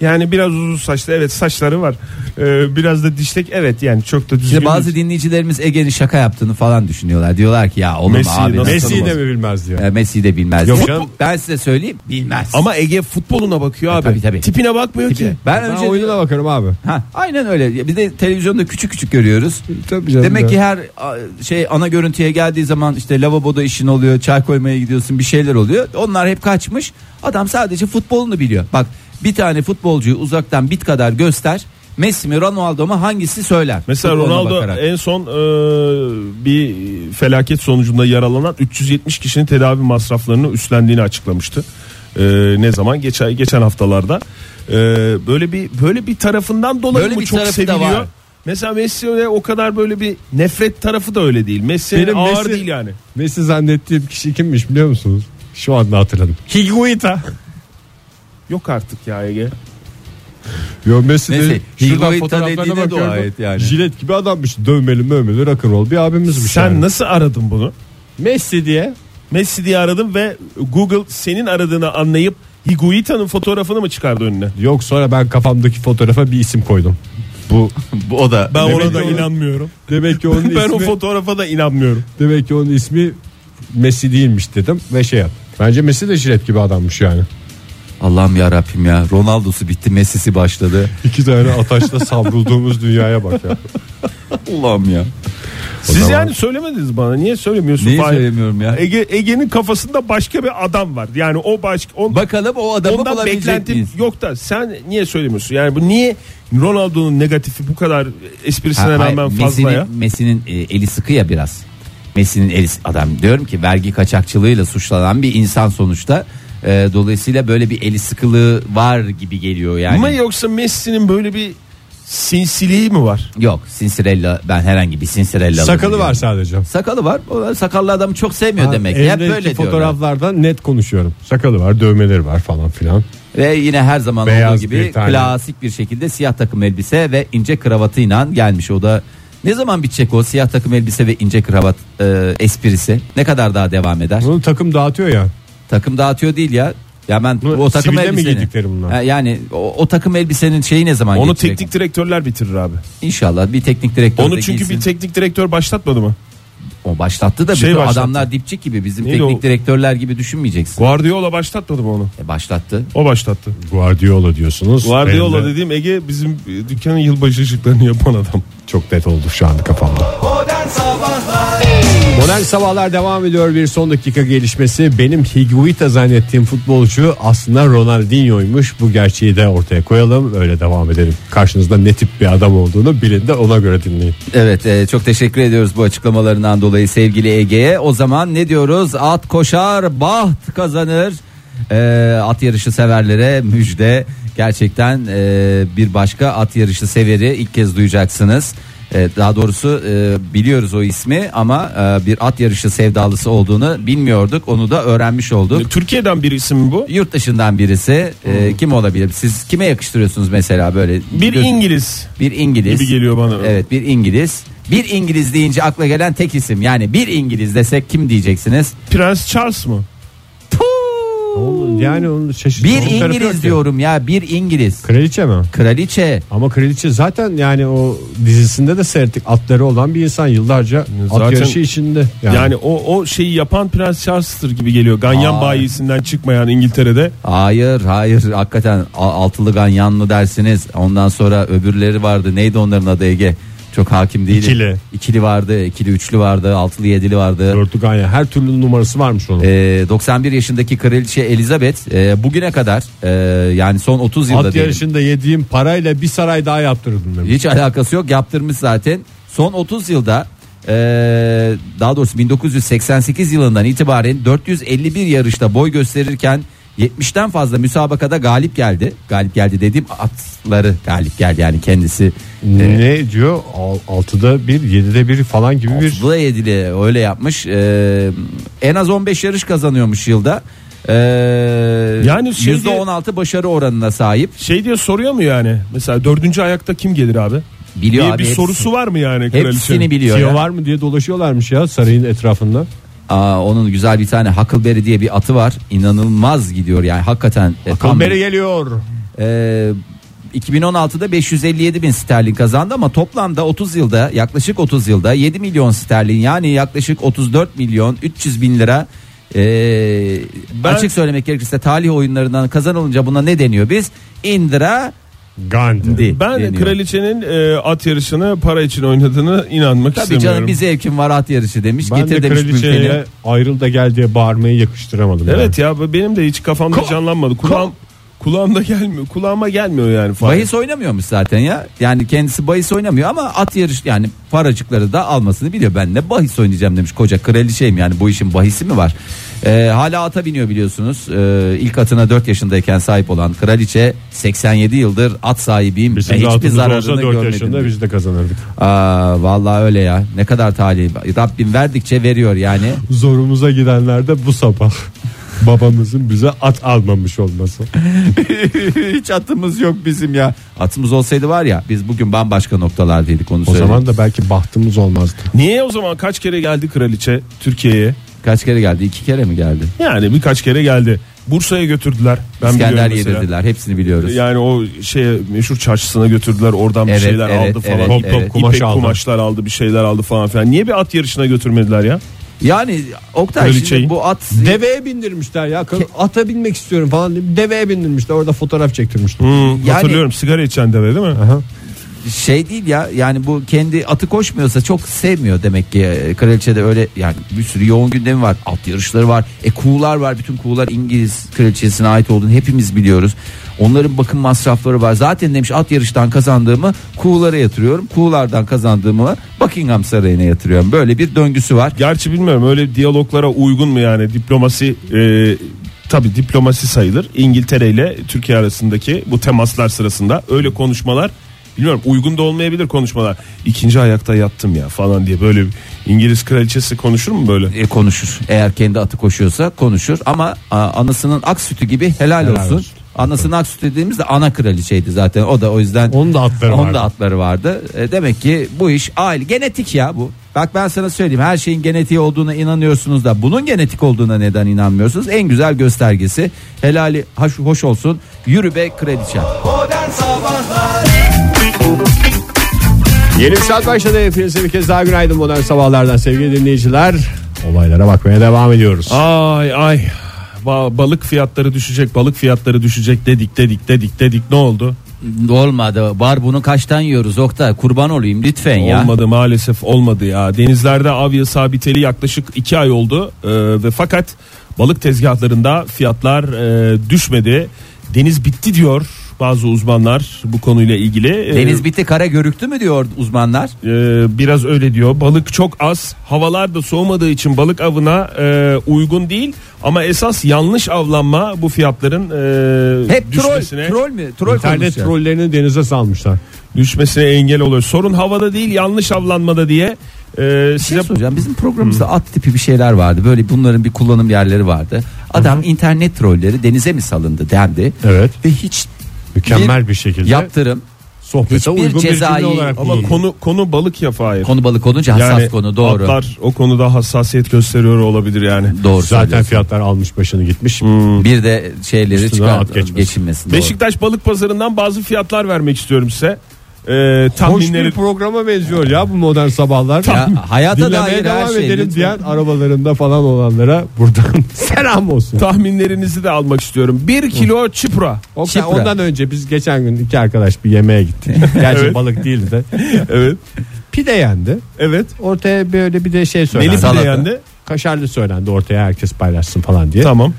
C: Yani biraz uzun saçlı evet saçları var. Ee, biraz da dişlek evet yani çok da düzgün.
D: Şimdi bazı dinleyicilerimiz Ege'nin şaka yaptığını falan düşünüyorlar. Diyorlar ki ya oğlum
C: Messi'yi
D: abi
C: nasıl-
D: nasıl
B: Messi'yi
D: olmaz?
B: de mi bilmez diyor.
D: E, Messi de bilmez.
B: Yok
D: Futbol-
B: canım.
D: Ben size söyleyeyim bilmez.
C: Ama Ege futboluna bakıyor abi.
D: E, tabii, tabii.
C: Tipine bakmıyor
D: Tipi.
C: ki.
D: ben
B: Ben
D: önce
B: oyununa bakarım abi.
D: Ha, aynen öyle. Bir de televizyonda küçük küçük görüyoruz.
B: Tabii canım
D: Demek
B: ya.
D: ki her a, şey ana görüntüye geldiği zaman işte lavaboda işin oluyor, çay koymaya gidiyorsun, bir şeyler oluyor. Onlar hep kaçmış. Adam sadece futbolunu biliyor. Bak bir tane futbolcuyu uzaktan bit kadar göster. Messi mi Ronaldo mu hangisi söyler?
C: Mesela
D: Futboluna
C: Ronaldo
D: bakarak.
C: en son e, bir felaket sonucunda yaralanan 370 kişinin tedavi masraflarını üstlendiğini açıklamıştı. E, ne zaman? Geçen geçen haftalarda. E, böyle bir böyle bir tarafından dolayı
D: Böyle
C: mı
D: bir
C: çok
D: tarafı da
C: seviliyor?
D: var.
C: Mesela Messi'ye o kadar böyle bir nefret tarafı da öyle değil. Messi
B: Benim
C: ağır
B: Messi-
C: değil yani.
B: Messi zannettiğim kişi kimmiş biliyor musunuz? Şu anda hatırladım.
C: Higuita. Yok artık ya Ege.
B: Yo Messi
D: Neyse,
B: de şuradan
D: Higuaita
B: fotoğraflarına
D: dediğine dua
B: bakıyorum.
D: et yani.
B: Jilet gibi adammış. Dövmeli mövmeli rock'n'roll bir abimizmiş.
C: Sen
D: şey
B: yani.
C: nasıl aradın bunu?
B: Messi diye
C: Messi diye aradım ve Google senin aradığını anlayıp Higuita'nın fotoğrafını mı çıkardı önüne?
B: Yok sonra ben kafamdaki fotoğrafa bir isim koydum. Bu
D: Bu o da.
C: Ben
B: Demek
C: ona
B: ki
C: da
B: o-
C: inanmıyorum.
B: demek ki onun
C: Ben o
B: ismi
C: fotoğrafa da inanmıyorum.
B: demek ki onun ismi Messi değilmiş dedim ve şey yap. Bence Messi de jilet gibi adammış yani.
D: Allah'ım ya Rabbim ya. Ronaldo'su bitti, Messi'si başladı.
B: İki tane ataşla savrulduğumuz dünyaya bak ya.
D: Allah'ım ya.
C: Siz
B: zaman-
C: yani söylemediniz bana. Niye söylemiyorsun?
D: Neyi
C: Fahir?
D: söylemiyorum ya?
C: Ege Ege'nin kafasında başka bir adam var. Yani o başka on,
D: Bakalım o adamı
C: ondan
D: bulabilecek
C: beklentim
D: miyiz?
C: yok da sen niye söylemiyorsun? Yani bu niye Ronaldo'nun negatifi bu kadar esprisine
D: Ha, hayır,
C: rağmen fazla
D: Messi'nin-
C: ya?
D: Messi'nin e, eli sıkı ya biraz. Messi'nin eli adam diyorum ki vergi kaçakçılığıyla suçlanan bir insan sonuçta. E, dolayısıyla böyle bir eli sıkılığı var gibi geliyor yani.
C: Ama yoksa Messi'nin böyle bir sinsiliği mi var?
D: Yok Sinsirella ben herhangi bir Sinsirella
B: Sakalı var sadece.
D: Sakalı var. O da sakallı adamı çok sevmiyor demek.
B: Emre'deki
D: Hep böyle diyorlar.
B: fotoğraflarda net konuşuyorum. Sakalı var, dövmeleri var falan filan.
D: Ve yine her zaman
B: Beyaz
D: olduğu gibi
B: bir tane.
D: klasik bir şekilde siyah takım elbise ve ince kravatıyla gelmiş. O da ne zaman bitecek o siyah takım elbise ve ince kravat e, esprisi? Ne kadar daha devam eder?
B: Bunu takım dağıtıyor ya.
D: Takım dağıtıyor değil ya. Ya ben
B: Bu
D: o takım
B: sivilde mi
D: elbisenin.
B: giydikleri bunlar?
D: Ha, Yani o, o takım elbisenin şeyi ne zaman
C: Onu
D: geçecek?
C: teknik direktörler bitirir abi.
D: İnşallah bir teknik direktör de
C: Onu çünkü
D: giysin.
C: bir teknik direktör başlatmadı mı?
D: o başlattı da
C: Şey
D: bütün
C: başlattı.
D: adamlar dipçik gibi bizim
C: Neydi
D: teknik
C: o?
D: direktörler gibi düşünmeyeceksin.
C: Guardiola başlatmadı mı onu?
D: E, başlattı.
C: O başlattı.
B: Guardiola diyorsunuz.
C: Guardiola
B: Benim de
C: dediğim Ege bizim e, dükkanın yılbaşı ışıklarını yapan adam.
B: Çok net oldu şu an kafamda. Modern Sabahlar devam ediyor. Bir son dakika gelişmesi. Benim Higuita zannettiğim futbolcu aslında Ronaldinho'ymuş. Bu gerçeği de ortaya koyalım. Öyle devam edelim. Karşınızda ne tip bir adam olduğunu bilin de ona göre dinleyin.
D: Evet e, çok teşekkür ediyoruz bu açıklamalarından dolayı sevgili Ege'ye. O zaman ne diyoruz? At koşar, baht kazanır. E, at yarışı severlere müjde. Gerçekten e, bir başka at yarışı severi ilk kez duyacaksınız. E, daha doğrusu e, biliyoruz o ismi ama e, bir at yarışı sevdalısı olduğunu bilmiyorduk. Onu da öğrenmiş olduk.
C: Türkiye'den bir isim mi bu?
D: Yurt dışından birisi e, kim olabilir? Siz kime yakıştırıyorsunuz mesela böyle?
C: Bir
D: Göz-
C: İngiliz.
D: bir İngiliz.
C: Gibi geliyor bana.
D: Evet bir İngiliz. Bir İngiliz deyince akla gelen tek isim. Yani bir İngiliz desek kim diyeceksiniz?
C: Prens Charles mı?
B: Yani onun şaşırtıcı
D: Bir İngiliz diyorum ya bir İngiliz.
B: Kraliçe mi?
D: Kraliçe.
B: Ama kraliçe zaten yani o dizisinde de seyrettik atları olan bir insan yıllarca
C: Zaten-
B: at yarışı içinde.
C: Yani, o o şeyi yapan Prens Charles'tır gibi geliyor. Ganyan
D: Aa.
C: bayisinden çıkmayan İngiltere'de.
D: Hayır hayır hakikaten a- altılı ganyan mı dersiniz? Ondan sonra öbürleri vardı. Neydi onların adı Ege? Çok hakim değilim.
B: İkili.
D: İkili vardı, ikili üçlü vardı, altılı yedili vardı.
B: Portugalya her türlü numarası varmış onun.
D: Ee, 91 yaşındaki kraliçe Elizabeth e, bugüne kadar e, yani son 30 yılda
B: At
D: diyelim.
B: yarışında yediğim parayla bir saray daha yaptırdım demiş.
D: Hiç alakası yok yaptırmış zaten. Son 30 yılda e, daha doğrusu 1988 yılından itibaren 451 yarışta boy gösterirken 70'ten fazla müsabakada galip geldi. Galip geldi dediğim atları galip geldi yani kendisi.
B: Ne diyor? Al- Altıda bir, yedide bir falan gibi bir.
D: Bu da yedili öyle yapmış. E, en az 15 yarış kazanıyormuş yılda. E,
C: Yani şey
D: %16 başarı oranına sahip.
C: Şey diye soruyor mu yani? Mesela dördüncü ayakta kim gelir abi?
D: Biliyor
C: diye
D: abi
C: bir
D: hepsi-
C: sorusu var mı yani kraliçenin?
D: Hepsini biliyor.
B: Tiyo
D: ya.
B: var mı diye dolaşıyorlarmış ya sarayın etrafında.
D: Aa, onun güzel bir tane Huckleberry diye bir atı var. İnanılmaz gidiyor yani hakikaten. E, tam-
B: Kalberi geliyor.
D: E, 2016'da 557 bin sterlin kazandı ama toplamda 30 yılda yaklaşık 30 yılda 7 milyon sterlin yani yaklaşık 34 milyon 300 bin lira e, açık söylemek gerekirse talih oyunlarından kazanılınca buna ne deniyor biz? Indira
B: Gandhi.
C: Ben
D: deniyor.
C: kraliçenin e, at yarışını para için oynadığını inanmak
D: Tabii
C: istemiyorum.
D: canım bir zevkim var at yarışı demiş.
B: Ben
D: Getir
B: de
D: demiş bülteni.
B: kraliçeye ayrıl da gel diye bağırmayı yakıştıramadım.
C: Evet ya bu benim de hiç kafamda canlanmadı. Kulağım kulağımda gelmiyor. Kulağıma gelmiyor yani. Fahir.
D: Bahis oynamıyormuş zaten ya. Yani kendisi bahis oynamıyor ama at yarış yani paracıkları da almasını biliyor. Ben ne bahis oynayacağım demiş koca kraliçeyim yani bu işin bahisi mi var? Ee, hala ata biniyor biliyorsunuz. Ee, ilk atına 4 yaşındayken sahip olan kraliçe 87 yıldır at sahibiyim.
B: Bizim
D: Ve
B: de
D: hiçbir
B: altımız
D: zararını
B: olsa 4
D: görmedim.
B: yaşında
D: diyor.
B: biz de kazanırdık.
D: Aa, vallahi öyle ya. Ne kadar talih. Rabbim verdikçe veriyor yani.
B: Zorumuza gidenler de bu sabah. Babamızın bize at almamış olması.
D: Hiç atımız yok bizim ya. Atımız olsaydı var ya biz bugün bambaşka noktalardaydık onu
B: O
D: söyleyeyim.
B: zaman da belki bahtımız olmazdı.
C: Niye o zaman kaç kere geldi kraliçe Türkiye'ye?
D: Kaç kere geldi? İki kere mi geldi?
C: Yani birkaç kere geldi. Bursa'ya götürdüler. Ben
D: İskender
C: biliyorum mesela.
D: yedirdiler. Hepsini biliyoruz.
C: Yani o şeye meşhur çarşısına götürdüler. Oradan
D: Evet,
C: bir şeyler
D: evet,
C: aldı falan.
D: evet,
C: İpek-
D: evet.
B: Kumaş
C: İpek
B: aldı.
C: kumaşlar aldı, bir şeyler aldı falan filan. Niye bir at yarışına götürmediler ya?
D: Yani Oktay şimdi
C: Kraliçeyi.
D: bu at
B: Deveye bindirmişler ya. Kadın Ata binmek istiyorum falan deyip deveye bindirmişler. Orada fotoğraf çektirmişler.
D: Hmm.
C: Yani- Hatırlıyorum sigara içen deve değil mi?
D: şey değil ya yani bu kendi atı koşmuyorsa çok sevmiyor demek ki E, kraliçede öyle yani bir sürü yoğun gündemi var at yarışları var e kuğular var bütün kuğular İngiliz kraliçesine ait olduğunu hepimiz biliyoruz onların bakım masrafları var zaten demiş at yarıştan kazandığımı kuğulara yatırıyorum kuğulardan kazandığımı Buckingham Sarayı'na yatırıyorum böyle bir döngüsü var
C: Gerçi bilmiyorum öyle diyaloglara uygun mu yani diplomasi e, tabi diplomasi sayılır. İngiltere ile Türkiye arasındaki bu temaslar sırasında öyle konuşmalar bilmiyorum uygun da olmayabilir konuşmalar. İkinci ayakta yattım ya falan diye böyle bir İngiliz kraliçesi konuşur mu böyle?
D: E, konuşur eğer kendi atı koşuyorsa konuşur ama a, anasının ak sütü gibi helal, olsun.
B: olsun.
D: Anasının ak sütü dediğimizde ana kraliçeydi zaten o da o yüzden
B: Onun da atları
D: Onun
B: vardı.
D: da atları vardı. E, demek ki bu iş aile genetik ya bu. Bak ben sana söyleyeyim her şeyin genetiği olduğuna inanıyorsunuz da bunun genetik olduğuna neden inanmıyorsunuz? En güzel göstergesi helali haş- hoş olsun yürü be kraliçe.
B: Yeni bir saat başladı. Hepinize bir kez daha günaydın modern sabahlardan sevgili dinleyiciler. Olaylara bakmaya devam ediyoruz.
C: Ay ay Ba- balık fiyatları düşecek balık fiyatları düşecek dedik dedik dedik dedik ne oldu?
D: Olmadı var bunu kaçtan yiyoruz Oktay kurban olayım lütfen ya.
C: Olmadı maalesef olmadı ya. Denizlerde avya sabiteli yaklaşık 2 ay oldu Ee, ve fakat balık tezgahlarında fiyatlar e, düşmedi. Deniz bitti diyor bazı uzmanlar bu konuyla ilgili. Ee,
D: Deniz bitti kara görüktü mü diyor uzmanlar.
C: e, biraz öyle diyor. Balık çok az. Havalar da soğumadığı için balık avına e, uygun değil. Ama esas yanlış avlanma bu fiyatların e,
D: Hep troll,
C: düşmesine
D: troll mü? Troll
B: İnternet
D: konuşuyor.
B: trollerini denize salmışlar.
C: düşmesine engel oluyor. Sorun havada değil, yanlış avlanmada diye e,
D: Bir şey
C: size
D: soracağım. Bizim programımızda at tipi bir şeyler vardı. Böyle bunların bir kullanım yerleri vardı. Adam internet trolleri denize mi salındı dendi.
B: Evet.
D: Ve hiç
B: Mükemmel bir şekilde
D: yaptırım.
B: sohbete
D: hiçbir
B: uygun bir cümle
D: cezai-
B: olarak
C: ama
B: kullanıldı.
C: konu konu balık ya Fahir.
D: Konu balık olunca hassas konu doğru.
C: Atlar o konuda hassasiyet gösteriyor olabilir yani.
D: Doğru
B: Zaten
D: söylüyorsun.
B: fiyatlar almış başını gitmiş.
D: Bir de şeyleri
B: Üstüne
D: çıkar
B: at geçmesin.
D: geçinmesin. doğru.
C: Beşiktaş balık pazarından bazı fiyatlar vermek istiyorum size. Ee,
B: Hoş bir
C: tahminleri
B: programa benziyor ya bu modern sabahlar.
D: Ya hayata dair her
B: devam
D: şey,
B: edelim
D: lütfen.
B: diyen arabalarında falan olanlara buradan selam olsun.
C: tahminlerinizi de almak istiyorum. 1 kilo çipra.
B: Oktay,
D: Şifre.
B: ondan önce biz geçen gün iki arkadaş bir yemeğe gittik. Gerçi
C: Evet.
B: balık değildi de.
C: Evet.
B: Pide yendi.
C: Evet.
B: Ortaya böyle bir de şey söylendi.
C: Neli
D: Salata.
C: pide yendi.
B: Kaşarlı söylendi ortaya herkes paylaşsın falan diye.
C: Tamam.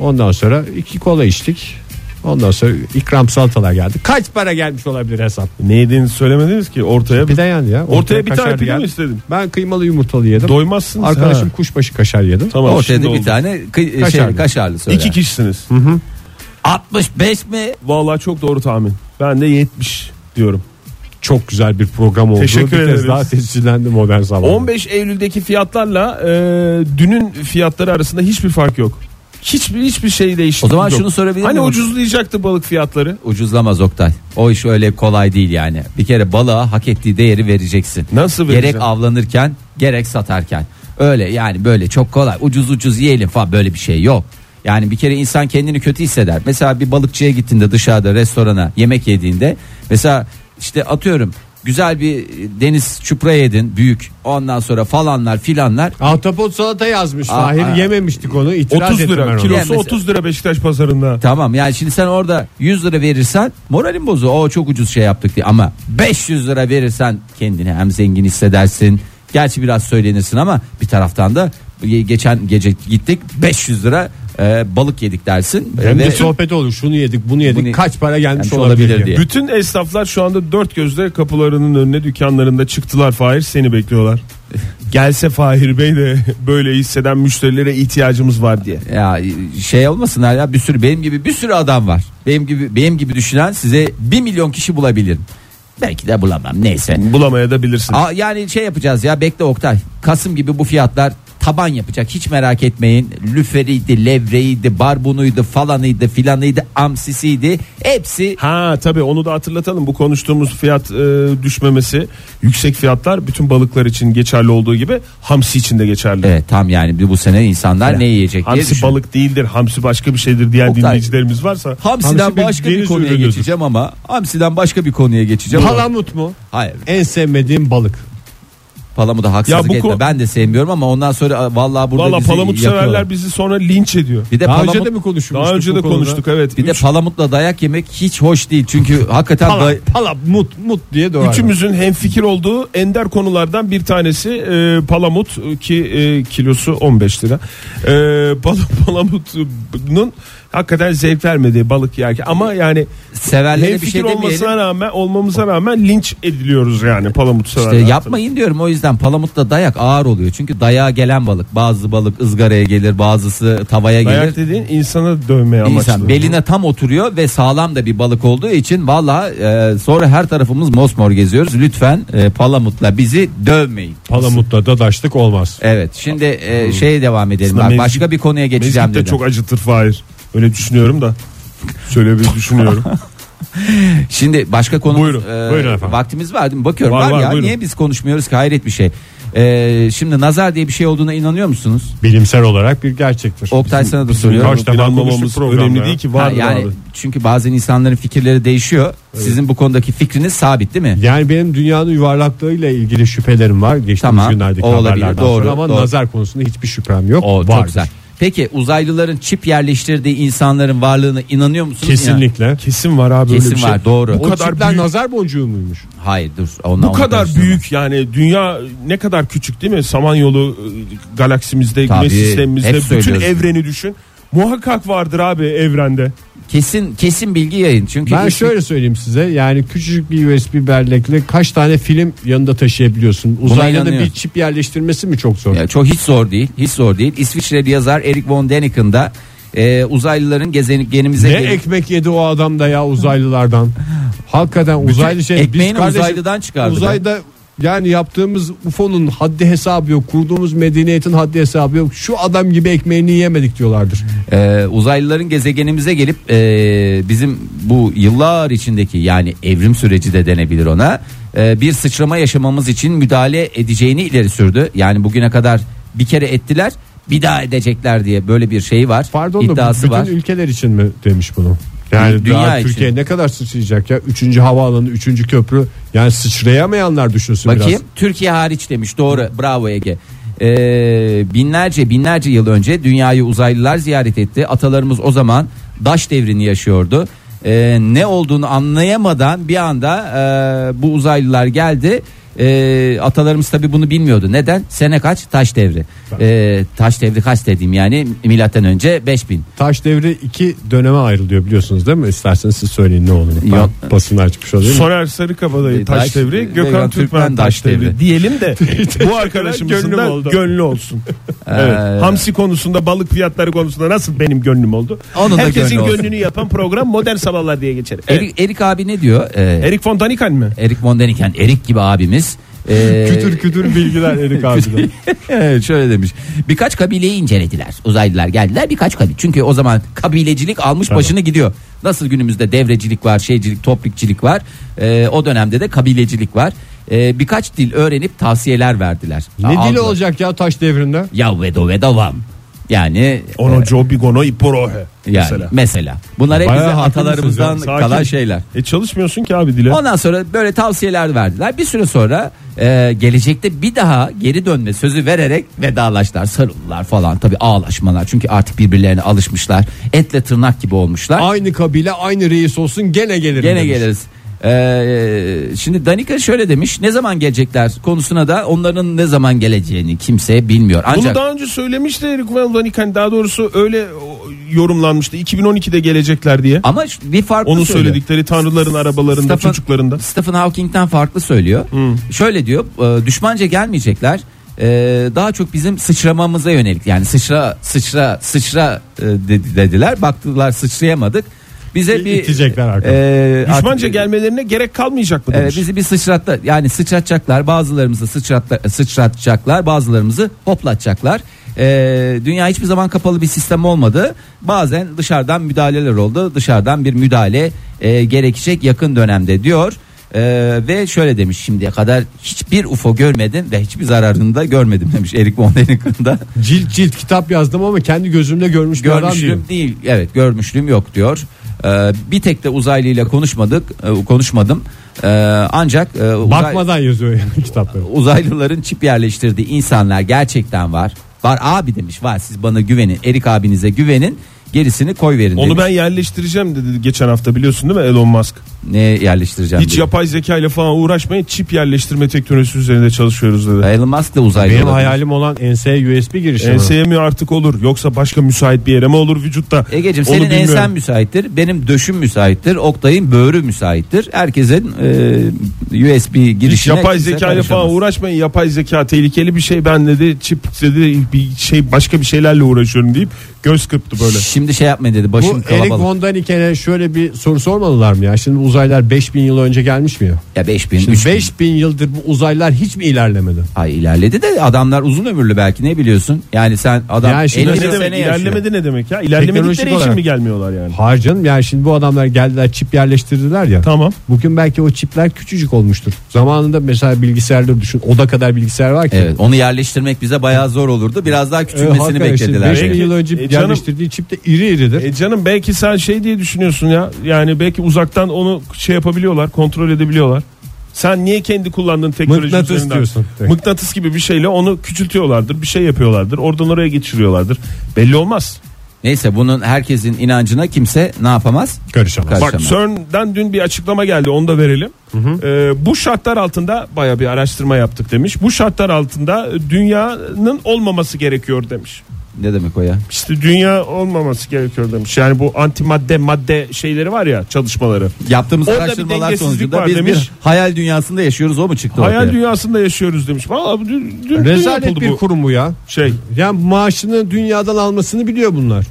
B: Ondan sonra iki kola içtik. Ondan sonra ikram salatalar geldi. Kaç para gelmiş olabilir hesap?
C: Ne yediğini söylemediniz ki ortaya.
B: Pide yendi ya.
C: Ortaya bir tane
B: kaşarlı
C: pide mi
B: geldi.
C: istedin?
B: Ben kıymalı yumurtalı yedim.
C: Doymazsınız.
B: Arkadaşım
C: Ha.
B: kuşbaşı kaşar yedim.
C: Tamam.
D: Ortaya
C: şimdi
D: da bir
C: oldu.
D: tane kı- şey,
B: Kaşarlı.
D: kaşarlı söyle.
C: İki kişisiniz.
D: 65 mi?
C: Vallahi çok doğru tahmin. Ben de 70 diyorum.
B: Çok güzel bir program oldu.
C: Teşekkür
B: bir kez
C: ederiz.
B: daha tescillendi modern sabah.
C: 15 Eylül'deki fiyatlarla e, dünün fiyatları arasında hiçbir fark yok. Hiçbir hiçbir şey değişti.
D: O zaman şunu sorabilir
C: Hani
D: miyim?
C: ucuzlayacaktı balık fiyatları.
D: Ucuzlamaz Oktay. O iş öyle kolay değil yani. Bir kere balığa hak ettiği değeri vereceksin.
C: Nasıl vereceğim?
D: Gerek avlanırken gerek satarken. Öyle yani böyle çok kolay ucuz ucuz yiyelim falan böyle bir şey yok. Yani bir kere insan kendini kötü hisseder. Mesela bir balıkçıya gittiğinde dışarıda restorana yemek yediğinde mesela işte atıyorum güzel bir deniz çupra yedin büyük ondan sonra falanlar filanlar
B: Ahtapot salata yazmış.
D: Aa,
B: Fahir
D: aa.
B: yememiştik onu. İtiraz
C: 30
B: ettim ben
C: lira
B: ona.
C: kilosu
D: Yani mesela-
C: 30 lira Beşiktaş pazarında.
D: Tamam yani şimdi sen orada 100 lira verirsen moralin bozu. O çok ucuz şey yaptık diye ama 500 lira verirsen kendini hem zengin hissedersin. Gerçi biraz söylenirsin ama bir taraftan da geçen gece gittik 500 lira e, balık yedik dersin.
B: Hem de
D: Ve-
B: sohbet olur. Şunu yedik bunu yedik.
D: Bunu-
B: kaç para gelmiş
D: Yani
B: olabilir,
D: olabilir
B: diye.
D: diye.
C: Bütün esnaflar şu anda dört gözle kapılarının önüne dükkanlarında çıktılar Fahir seni bekliyorlar. Gelse Fahir Bey de böyle hisseden müşterilere ihtiyacımız var diye.
D: ya şey olmasın ya bir sürü benim gibi bir sürü adam var. Benim gibi benim gibi düşünen size 1 milyon kişi bulabilirim. Belki de bulamam neyse.
C: Bulamaya da bilirsin.
D: Aa, yani şey yapacağız ya bekle Oktay. Kasım gibi bu fiyatlar taban yapacak. Hiç merak etmeyin. Lüferiydi, levreydi, barbunuydu, falanıydı, filanıydı, amsisiydi. Hepsi
C: Ha tabii onu da hatırlatalım. Bu konuştuğumuz fiyat e, düşmemesi, yüksek fiyatlar bütün balıklar için geçerli olduğu gibi hamsi için de geçerli.
D: Evet tam yani bir bu sene insanlar ne yiyecek diye
C: Hamsi
D: düşün.
C: balık değildir, hamsi başka bir şeydir diyen
D: Oktay.
C: dinleyicilerimiz varsa.
D: Hamsiden
C: hamsi
D: başka bir
C: deniz
D: konuya
C: ürünüdür.
D: geçeceğim ama Hamsiden başka bir konuya geçeceğim.
B: Palamut mu?
D: Hayır.
B: En sevmediğim balık.
D: Palamuda haksızlık
C: Ya bu
D: etme.
C: ko-
D: Ben de sevmiyorum ama ondan sonra a, vallahi burada
C: Valla
D: bizi
C: palamut
D: yakıyorlar.
C: severler bizi sonra linç ediyor.
D: Bir de
B: Daha
D: palamut
B: önce de mi konuşmuştuk?
C: Daha önce
B: bu
C: de
B: konuda?
C: konuştuk evet.
D: bir de
C: Üç-
D: palamutla dayak yemek hiç hoş değil. Çünkü hakikaten
B: Pala,
D: day-
B: pala, mut, mut diye doğar.
C: Üçümüzün hemfikir olduğu ender konulardan bir tanesi e, palamut e, ki e, kilosu 15 lira. E, pal- palamutun hakikaten zevk vermediği balık yerken ama yani
D: severlere bir
C: hemfikir
D: şey demeyelim.
C: olmasına rağmen olmamıza rağmen linç ediliyoruz yani palamut severler.
D: İşte yapmayın diyorum o yüzden palamutla dayak ağır oluyor. Çünkü dayağa gelen balık bazı balık ızgaraya gelir bazısı tavaya gelir.
C: Dayak dediğin insana dövmeye amaçlı.
D: İnsan beline tam oturuyor ve sağlam da bir balık olduğu için valla sonra her tarafımız mosmor geziyoruz. Lütfen e, palamutla bizi dövmeyin.
B: Palamutla dadaşlık olmaz.
D: Evet şimdi e, şeye devam edelim.
C: Aslında
D: Bak,
C: mezgit-
D: başka bir konuya geçeceğim
C: Mezgit de
D: dedim.
C: çok acıtır Fahir. Öyle düşünüyorum da. Şöyle bir düşünüyorum.
D: Şimdi başka konu e,
C: Buyurun, buyurun efendim.
D: vaktimiz var değil mi? Bakıyorum
C: Var,
D: var,
C: var,
D: ya
C: buyurun.
D: niye biz konuşmuyoruz ki hayret bir şey. E, şimdi nazar diye bir şey olduğuna inanıyor musunuz?
B: Bilimsel olarak bir gerçektir.
D: Oktay sana da soruyorum.
B: Kaç defa
C: İnanmamamız
B: konuştuk programda
C: önemli
B: ya.
C: değil ki
D: Ha,
C: vardır
D: yani
C: abi.
D: çünkü bazen insanların fikirleri değişiyor. Sizin bu konudaki fikriniz sabit değil mi?
B: Yani benim dünyanın yuvarlaklığıyla ilgili şüphelerim var. Geçtiğimiz
D: Tamam,
B: günlerdeki
D: o olabilir,
B: haberlerden
D: doğru,
B: sonra ama
D: doğru.
B: nazar konusunda hiçbir şüphem yok.
D: O
B: Vardır.
D: çok güzel. Peki uzaylıların çip yerleştirdiği insanların varlığına inanıyor musunuz? İnan-
B: Kesinlikle.
C: Kesin var abi
D: Kesin
C: öyle bir şey.
D: var, doğru.
C: Bu
B: O
C: kadar
B: çipler
C: büyük,
B: nazar boncuğu muymuş?
D: Hayır dur. Ona,
C: bu kadar büyük yani dünya ne kadar küçük değil mi? Samanyolu e, galaksimizde,
D: Tabii,
C: güneş sistemimizde
D: hep
C: bütün
D: söylüyoruz.
C: evreni düşün. Muhakkak vardır abi evrende.
D: Kesin kesin bilgi yayın. Çünkü
B: Ben
D: hiç-
B: şöyle söyleyeyim size yani küçücük bir USB bellekle kaç tane film yanında taşıyabiliyorsun? Uzayda da bir
D: inanıyorum.
B: çip yerleştirmesi mi çok zor?
D: Ya çok hiç zor değil. Hiç zor değil. İsviçreli yazar Erik von Däniken da e, uzaylıların gezegenimize
B: ne
D: gelip-
B: ekmek yedi o adam da ya uzaylılardan. Hakikaten uzaylı şey.
D: ekmeğini uzaylıdan çıkardı be.
B: Uzayda yani yaptığımız UFO'nun haddi hesabı yok. Kurduğumuz medeniyetin haddi hesabı yok. Şu adam gibi ekmeğini yemedik diyorlardır.
D: Ee, uzaylıların gezegenimize gelip e, bizim bu yıllar içindeki yani evrim süreci de denebilir ona e, bir sıçrama yaşamamız için müdahale edeceğini ileri sürdü. Yani bugüne kadar bir kere ettiler bir daha edecekler diye böyle bir şey var
B: Pardon da bu
D: iddiası
B: bütün
D: var.
B: ülkeler için mi demiş bunu? Yani
D: Dünya
B: daha
D: için.
B: Türkiye ne kadar sıçrayacak ya? Üçüncü havaalanı, üçüncü köprü. Yani sıçrayamayanlar düşünsün
D: Bakayım
B: biraz.
D: Türkiye hariç demiş doğru bravo Ege. Ee, binlerce binlerce yıl önce dünyayı uzaylılar ziyaret etti. Atalarımız o zaman daş devrini yaşıyordu. Ee, ne olduğunu anlayamadan bir anda e, bu uzaylılar geldi. Ee, atalarımız tabi bunu bilmiyordu. Neden? Sene kaç? Taş devri. Ee, taş devri kaç dediğim yani milattan önce 5000.
B: Taş devri iki döneme ayrılıyor biliyorsunuz değil mi? İsterseniz siz söyleyin ne olduğunu. Ben
D: Yok.
B: basını açmış olayım.
C: Soner Sarıkabadayı
D: E,
C: taş,
D: taş-
C: devri,
D: Gökhan
C: Gökhan, Türkmen, taş devri. diyelim de bu arkadaşımızın
B: Gönlüm
C: da
B: oldu.
C: gönlü olsun.
D: Ee,
C: evet. Hamsi konusunda, balık fiyatları konusunda nasıl benim gönlüm oldu?
D: Onun da
C: Herkesin
D: gönlü olsun. E,
C: gönlünü yapan program Modern Sabahlar diye geçer. Evet.
D: Erik, Erik abi ne diyor? Ee,
C: Erik Fontanikan mı?
D: Erik Mondeniken Erik gibi abimiz. Ee,
B: kütür kütür bilgiler Erik abiden.
D: Evet, şöyle demiş. Birkaç kabileyi incelediler. Uzaylılar geldiler birkaç kabile. Çünkü o zaman kabilecilik almış başını gidiyor. Nasıl günümüzde devrecilik var, şeycilik, toprikçilik var. Ee, o dönemde de kabilecilik var. Ee, birkaç dil öğrenip tavsiyeler verdiler.
B: ne dili olacak ya taş devrinde?
D: Ya vedo vedovam. Yani
C: Ono Jobi Gono Iporohe.
D: yani mesela.
C: mesela.
D: Bunlar hep
B: Bayağı
D: bizim
B: haklısınız
D: atalarımızdan
B: ya,
C: sakin.
D: kalan şeyler.
C: E çalışmıyorsun ki abi dile.
D: Ondan sonra böyle tavsiyeler verdiler. Bir süre sonra e, gelecekte bir daha geri dönme sözü vererek vedalaştılar. Sarıldılar falan. Tabi ağlaşmalar. Çünkü artık birbirlerine alışmışlar. Etle tırnak gibi olmuşlar.
B: Aynı kabile aynı reis olsun gene gelirim
D: Gene
B: demiş.
D: geliriz. E, şimdi Danika şöyle demiş. Ne zaman gelecekler konusuna da onların ne zaman geleceğini kimse bilmiyor.
C: Bunu
D: Ancak
C: daha önce söylemişti Erik Fontanikan. Daha doğrusu öyle o, yorumlanmıştı. 2012'de gelecekler diye.
D: ama şu- bir farklı
C: Onun
D: söylüyor.
C: söyledikleri tanrıların arabalarında,
D: Stephen-
C: çocuklarında.
D: Stephen Hawking'den farklı söylüyor. Şöyle diyor e, düşmanca gelmeyecekler. E, daha çok bizim sıçramamıza yönelik yani sıçra sıçra sıçra e, dedi- dediler. Baktılar sıçrayamadık. bize bir
B: İtecekler arkadan.
D: e,
C: Düşmanca
D: artık-
C: gelmelerine gerek kalmayacak mı
D: Evet,
C: demiş.
D: Ee, bizi bir sıçrattı. Yani sıçratacaklar. Bazılarımızı sıçrat, sıçratacaklar. Bazılarımızı hoplatacaklar. Ee, dünya hiçbir zaman kapalı bir sistem olmadı. Bazen dışarıdan müdahaleler oldu. Dışarıdan bir müdahale e, gerekecek yakın dönemde diyor. Ee, ve şöyle demiş şimdiye kadar hiçbir UFO görmedim ve hiçbir zararını da görmedim demiş Erik Von Däniken'da.
B: Cilt cilt kitap yazdım ama kendi gözümle görmüş bir adam değilim.
D: Görmüşlüğüm değil. Evet görmüşlüğüm yok diyor. Ee, bir tek de uzaylıyla konuşmadık. e, konuşmadım. Ee, ancak e, uzay-
B: Bakmadan yazıyor yani kitapları.
D: uzaylıların çip yerleştirdiği insanlar gerçekten var. Var abi demiş. Var siz bana güvenin. Erik abinize güvenin. Gerisini koy verin.
C: Onu ben yerleştireceğim dedi geçen hafta biliyorsun değil mi Elon Musk?
D: ne yerleştireceğim
C: Hiç
D: diye.
C: yapay zeka ile falan uğraşmayın. Çip yerleştirme teknolojisi üzerinde çalışıyoruz dedi.
D: Elon Musk da uzaylı.
B: Benim
D: olabilir.
B: hayalim olan enseye USB girişi.
C: Enseye mi artık olur yoksa başka müsait bir yere mi olur vücutta?
D: Egeciğim
C: Onu
D: senin
C: bilmiyorum.
D: ensen müsaittir. Benim döşüm müsaittir. Oktay'ın böğrü müsaittir. Herkesin e, USB
C: Hiç
D: girişine
C: yapay
D: kimse
C: zeka ile falan
D: karışamaz.
C: uğraşmayın. Yapay zeka tehlikeli bir şey. Ben dedi çip dedi bir şey başka bir şeylerle uğraşıyorum deyip göz kırptı böyle.
D: Şimdi şey yapmayın dedi. Başım
B: Bu Erik
D: kalabalık.
B: Von Däniken'e şöyle bir soru sormadılar mı ya? Şimdi uzaylılar 5000 yıl önce gelmiş mi ya?
D: Ya 5000
B: Şimdi
D: 3000.
B: 5000 yıldır bu uzaylılar hiç mi ilerlemedi?
D: Ay ilerledi de adamlar uzun ömürlü belki ne biliyorsun? Yani sen adam
B: Ya şimdi
D: 50
C: Ne
B: Bir
D: sene
C: şey demek
D: yaşıyor.
C: ilerlemedi ne demek ya?
B: Teknolojik
C: İlerlemedikleri için
B: olarak.
C: mi gelmiyorlar yani?
B: Hayır canım yani şimdi bu adamlar geldiler çip yerleştirdiler ya.
C: Tamam.
B: Bugün belki o çipler küçücük olmuştur. Zamanında mesela bilgisayarları düşün. Oda kadar bilgisayar var ki.
D: Evet, onu yerleştirmek bize bayağı zor olurdu. Biraz daha
B: Ee,
D: küçülmesini
B: hakikaten şey- şimdi
D: beklediler.
B: 5000
C: Peki.
B: yıl önce
C: E, canım-
B: yerleştirdiği çip de iri iridir.
C: E canım belki sen şey diye düşünüyorsun ya. Yani belki uzaktan onu şey yapabiliyorlar, kontrol edebiliyorlar. Sen niye kendi kullandığın teknoloji
B: Mıknatıs
C: üzerinden-
B: diyorsun. Evet.
C: Mıknatıs gibi bir şeyle onu küçültüyorlardır, bir şey yapıyorlardır. Oradan oraya geçiriyorlardır. Belli olmaz.
D: Neyse bunun herkesin inancına kimse ne yapamaz?
B: Karışamaz.
D: Karışamaz.
C: Bak CERN'den dün bir açıklama geldi onu da verelim. Ee, bu şartlar altında baya bir araştırma yaptık demiş. Bu şartlar altında dünyanın olmaması gerekiyor demiş.
D: Ne demek o ya?
C: İşte dünya olmaması gerekiyor demiş. Yani bu antimadde madde şeyleri var ya çalışmaları.
D: Yaptığımız
C: Orada bir
D: araştırmalar
C: dengesizlik
D: sonucunda
C: var
D: biz
C: demiş.
D: bir hayal dünyasında yaşıyoruz o mu çıktı
C: Hayal
D: ortaya?
C: dünyasında yaşıyoruz demiş. Valla dün, dün- dün
B: Rezalet
C: yapıldı
B: bir
C: bu
B: kurum bu ya.
C: şey.
B: Yani maaşını dünyadan almasını biliyor bunlar.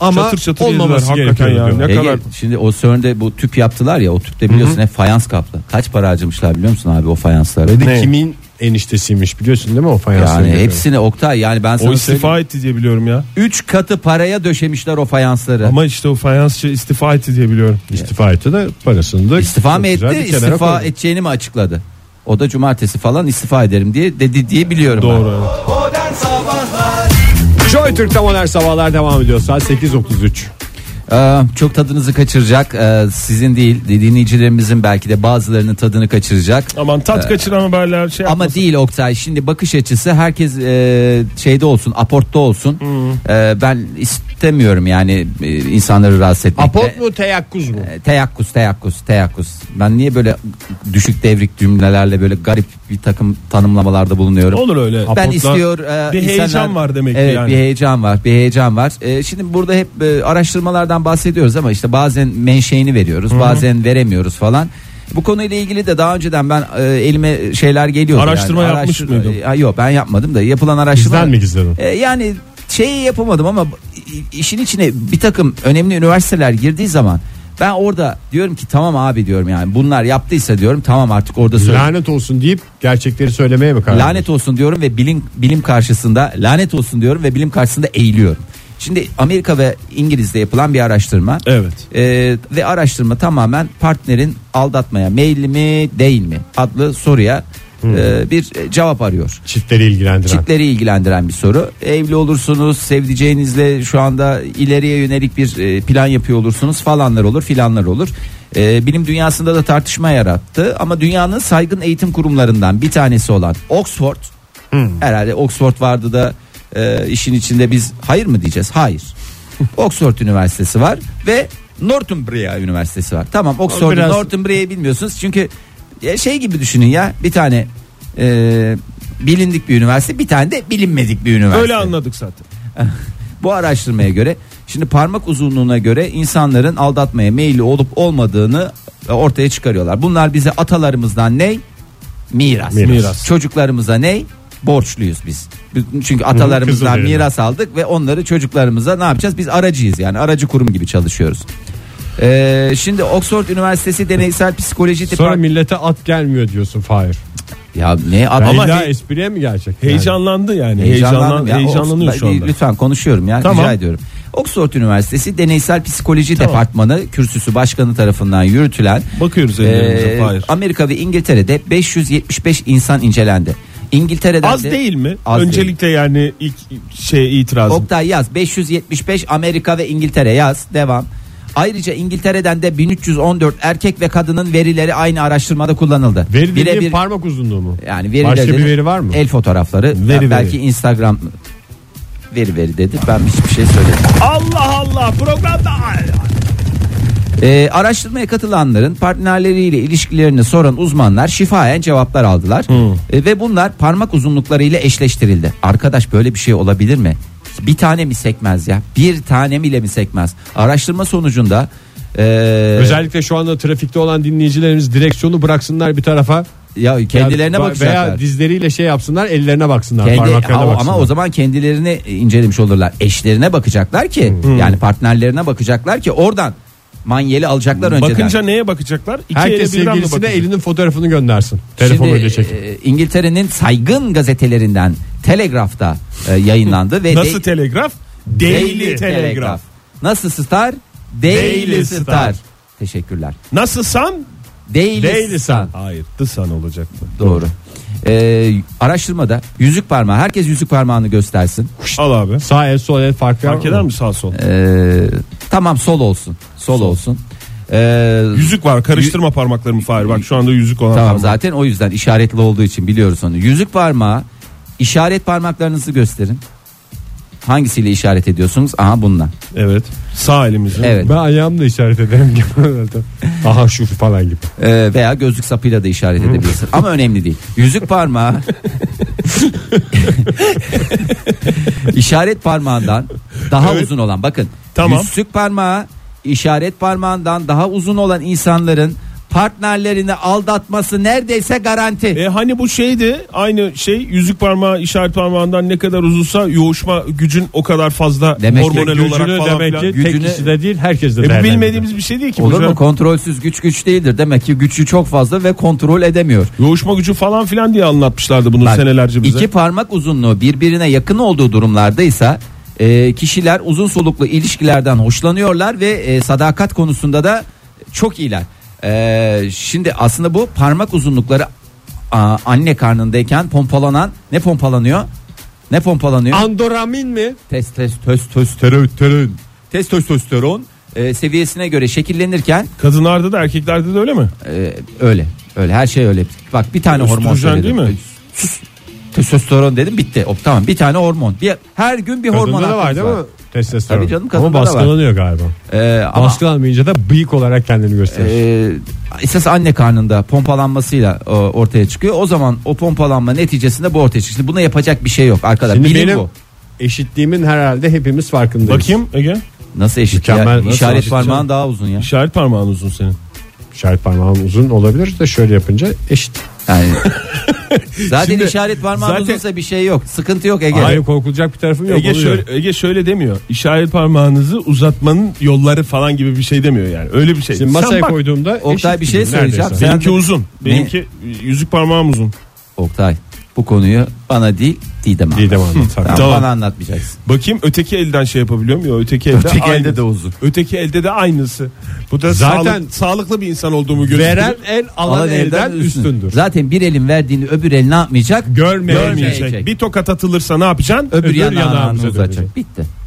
B: Ama
C: Çatır çatır
B: olmaması
C: yediler hakikaten
B: gerekiyor.
C: ya.
B: diyorlar.
C: Ne
D: Ege,
C: kadar-
D: şimdi o CERN'de bu tüp yaptılar ya o tüpte biliyorsun hep fayans kaplı. Kaç para harcamışlar biliyor musun abi o fayanslara?
B: Ve de
C: Ne?
B: kimin eniştesiymiş biliyorsun değil mi o fayansları?
D: Yani
B: görüyorum.
D: hepsini Oktay yani ben
C: O
D: sana söyleyeyim.
C: istifa etti diye biliyorum ya.
D: 3 katı paraya döşemişler o fayansları.
C: Ama işte o fayansçı istifa etti diye biliyorum.
B: İstifa etti de parasını da
D: İstifa
B: çok
D: mı etti?
B: güzel bir kenara
D: İstifa
B: koydu.
D: edeceğini mi açıkladı? O da cumartesi falan istifa ederim diye dedi diye biliyorum ben.
C: Doğru. evet.
B: Joy Türk'te modern sabahlar devam ediyor saat 8.33.
D: Ee, çok tadınızı kaçıracak ee, sizin değil dinleyicilerimizin belki de bazılarının tadını kaçıracak.
C: Aman tat kaçıran haberler şey
D: Ama değil Oktay şimdi bakış açısı herkes e, şeyde olsun aportta olsun. Ee, ben istemiyorum yani e, insanları rahatsız etmek.
B: Apot mu teyakkuz mu?
D: E, Teyakkuz teyakkuz teyakkuz. Ben niye böyle düşük devrik cümlelerle böyle garip bir takım tanımlamalarda bulunuyorum.
C: Olur öyle.
D: ben
C: Apotlar-
D: istiyor e,
C: bir
D: insanlar-
C: heyecan var demek ki
D: evet,
C: yani.
D: bir heyecan var bir heyecan var E, şimdi burada hep e, araştırmalardan bahsediyoruz ama işte bazen menşeini veriyoruz bazen veremiyoruz falan bu konuyla ilgili de daha önceden ben e, elime şeyler geliyordu
C: Araştırma
D: yani.
C: yapmış mıydın?
D: E, yok ben yapmadım da yapılan araştırma
B: Bizden mi gizledin?
D: E, yani şeyi yapamadım ama i- işin içine bir takım önemli üniversiteler girdiği zaman ben orada diyorum ki tamam abi diyorum yani bunlar yaptıysa diyorum tamam artık orada söyle.
B: Lanet olsun deyip gerçekleri söylemeye mi karar verdin?
D: Lanet olsun diyorum ve bilim bilim karşısında lanet olsun diyorum ve bilim karşısında eğiliyorum. Şimdi Amerika ve İngiliz'de yapılan bir araştırma.
C: Evet.
D: Ee, ve araştırma tamamen partnerin aldatmaya meyilli mi değil mi adlı soruya e, bir e, cevap arıyor.
B: Çiftleri ilgilendiren.
D: Çiftleri ilgilendiren bir soru. Evli olursunuz, sevdiceğinizle şu anda ileriye yönelik bir e, plan yapıyor olursunuz falanlar olur filanlar olur. E, bilim dünyasında da tartışma yarattı ama dünyanın saygın eğitim kurumlarından bir tanesi olan Oxford
B: Hmm.
D: herhalde Oxford vardı da e, işin içinde biz hayır mı diyeceğiz? Hayır. Oxford Üniversitesi var ve Northumbria Üniversitesi var. Tamam Oxford
B: biraz-
D: Northumbria'yı bilmiyorsunuz çünkü ya şey gibi düşünün ya bir tane e, bilindik bir üniversite bir tane de bilinmedik bir üniversite.
C: Öyle anladık zaten.
D: Bu araştırmaya göre şimdi parmak uzunluğuna göre insanların aldatmaya meyilli olup olmadığını e, ortaya çıkarıyorlar. Bunlar bize atalarımızdan ne? Miras.
B: Miras.
D: Çocuklarımıza ne? Borçluyuz biz. Çünkü atalarımızdan
B: Kızılderili.
D: miras aldık ve onları çocuklarımıza ne yapacağız? Biz aracıyız yani aracı kurum gibi çalışıyoruz. Ee, şimdi Oxford Üniversitesi Deneysel Psikoloji Tipi...
B: Sonra millete at gelmiyor diyorsun Fahir.
D: Ya ne adam
B: Ama
C: Ama
B: İlla
C: he-
B: espriye mi gerçek? yani?
C: Heyecanlandı yani. Heyecanlan,
D: Heyecanlandım ya.
C: heyecanlanıyor
D: Oxford-
C: şu anda.
D: Lütfen konuşuyorum ya
C: Tamam.
D: rica ediyorum. Oxford Üniversitesi Deneysel Psikoloji Departmanı kürsüsü başkanı tarafından yürütülen
C: Bakıyoruz ellerimize, Fahir.
D: Amerika ve İngiltere'de 575 insan incelendi. İngiltere'de
C: Az değil mi?
D: Az
C: Öncelikle yani ilk şey itirazım.
D: Oktay yaz 575 Amerika ve İngiltere yaz devam. Ayrıca İngiltere'den de 1314 erkek ve kadının verileri aynı araştırmada kullanıldı.
B: Veri dediğin
D: Birebir-
B: parmak uzunluğu mu?
D: yani veri
B: Başka
D: dedi-
B: bir veri var mı?
D: El fotoğrafları.
C: Veri,
D: Ya belki
C: veri.
D: Instagram veri veri dedi. Ben hiçbir şey söylemedim.
C: Allah Allah programda
D: Ee, araştırmaya katılanların partnerleriyle ilişkilerini soran uzmanlar şifayen cevaplar aldılar. Ee, ve bunlar parmak uzunluklarıyla eşleştirildi. Arkadaş böyle bir şey olabilir mi? Bir tane mi sekmez ya? Bir tane mi ile mi sekmez? Araştırma sonucunda ee,
B: Özellikle şu anda trafikte olan dinleyicilerimiz direksiyonu bıraksınlar bir tarafa.
D: ya kendilerine
B: Ya da-
D: bakacaklar.
B: Veya dizleriyle şey yapsınlar ellerine baksınlar
D: Kendi-
B: parmaklarına
D: ama,
B: baksınlar.
D: ama o zaman kendilerini e, incelemiş olurlar. Eşlerine bakacaklar ki
C: Hmm.
D: yani partnerlerine bakacaklar ki oradan manyeli alacaklar önceden.
C: Bakınca neye bakacaklar? İki
B: Herkes
C: ele birden mi
B: sevgilisine
C: bakacak?
B: elinin fotoğrafını göndersin.
D: Şimdi,
B: Telefonuyla çekin.
D: e, İngiltere'nin saygın gazetelerinden Telegraph'ta e, yayınlandı ve
C: Nasıl
D: de-
C: telegraf? Daily, Telegraph.
D: Nasıl Star? Daily,
C: Daily
D: Star.
C: Star.
D: Teşekkürler.
C: Nasıl san?
D: Daily, Star.
C: Hayır, the sun olacaktı.
D: Doğru. E, araştırmada yüzük parmağı herkes yüzük parmağını göstersin.
C: Al abi.
B: Sağ el sol el farkı var
C: Fark eder mi sağ sol?
D: E, tamam sol olsun. Sol, olsun. E,
C: Yüzük var. Karıştırma parmaklarımı Fahir. Bak şu anda yüzük olan
D: Tamam
C: parmak.
D: zaten o yüzden işaretli olduğu için biliyoruz onu. Yüzük parmağı işaret parmaklarınızı gösterin. Hangisiyle işaret ediyorsunuz? Aha bununla.
C: Evet. Sağ elimizin.
D: Evet.
B: Ben ayağımla işaret ederim gibi. Aha şu falan gibi.
D: Ee, veya gözlük sapıyla da işaret edebilirsin. Ama önemli değil. Yüzük parmağı işaret parmağından daha uzun olan bakın.
C: Tamam.
D: Yüzük parmağı işaret parmağından daha uzun olan insanların partnerlerini aldatması neredeyse garanti.
C: E hani bu şeydi aynı şey yüzük parmağı işaret parmağından ne kadar uzunsa yoğuşma gücün o kadar fazla
D: Demek ki
C: hormonal
B: Gücünü
C: olarak falan
B: demek
C: filan.
B: ki tek
D: Gücünü-
B: kişide değil herkeste
C: E,
B: de
C: bu
B: değerlendiriyor.
C: bilmediğimiz bir şey değil ki. bu
D: Olur
C: canım.
D: mu? Kontrolsüz güç güç değildir. Demek ki gücü çok fazla ve kontrol edemiyor.
C: Yoğuşma gücü falan filan diye anlatmışlardı bunu
D: Bak,
C: senelerce bize.
D: İki parmak uzunluğu birbirine yakın olduğu durumlardaysa e, kişiler uzun soluklu ilişkilerden hoşlanıyorlar ve e, sadakat konusunda da çok iyiler. E, şimdi aslında bu parmak uzunlukları a, anne karnındayken pompalanan ne pompalanıyor? Ne pompalanıyor?
B: Andoramin mi?
D: Test test test testosteron. Testosteron e, seviyesine göre şekillenirken
C: Kadınlarda da erkeklerde de öyle mi?
D: Ee, öyle. Öyle her şey öyle. Bak bir tane hormon
C: Östrojen
D: söyledim.
C: değil mi?
D: Sus. Testosteron dedim bitti. O, tamam bir tane hormon. Bir, her gün bir hormon
B: Kadında da var
D: hakkımız
B: değil mi? Testosteron.
D: Tabii canım,
B: Ama
D: kadında da var.
B: baskılanıyor galiba.
D: Ee, ama
B: Baskılanmayınca da bıyık olarak kendini gösterir.
D: e, esas anne karnında pompalanmasıyla e, ortaya çıkıyor. O zaman o pompalanma neticesinde bu ortaya çıkıyor. Şimdi buna yapacak bir şey yok arkadaş.
B: Şimdi
D: Bilim
B: benim
D: bu.
B: eşitliğimin herhalde hepimiz farkındayız.
C: Bakayım Ege.
D: Nasıl eşit
B: Mükemmel,
D: ya?
B: nasıl
D: İşaret
B: eşit
D: parmağın
C: canım?
D: daha uzun ya.
C: İşaret parmağın uzun senin.
B: İşaret parmağım uzun olabilir de şöyle yapınca eşit.
D: Yani. zaten
C: Şimdi-
D: işaret parmağın
C: zaten-
D: uzunsa bir şey yok. Sıkıntı yok Ege.
B: Hayır korkulacak bir tarafım yok.
C: Ege
B: oluyor.
C: şöyle, Ege şöyle demiyor. İşaret parmağınızı uzatmanın yolları falan gibi bir şey demiyor yani. Öyle bir şey.
B: Şimdi
C: Sen
B: masaya
C: bak,
B: koyduğumda
D: Oktay
B: eşit
D: bir şey
B: gibi
D: söyleyeceğim.
B: neredeyse.
C: Benimki
D: Sen de-
C: uzun. Benimki yüzük parmağım uzun.
D: Oktay bu konuyu bana değil Didem'e.
B: İyi
D: anlat.
B: devam et.
D: Tamam,
C: Tamam.
D: Bana anlatmayacaksın.
C: Bakayım öteki elden şey yapabiliyor muyum? Yok, Öteki elde,
D: Öteki
C: aynı.
D: elde de uzun.
C: Öteki elde de aynısı. Bu da
B: Zaten-
C: zaten sağlıklı bir insan olduğumu gösteriyor.
B: Veren el alan, elden üstündür.
D: Zaten bir elin verdiğini öbür el ne yapmayacak?
B: Görmeyecek.
C: görmeyecek. Bir tokat atılırsa ne yapacaksın?
D: Öbür,
B: Öbür
D: yanağını
B: yanağımıza
D: uzatacak.
B: dönecek.
D: Bitti.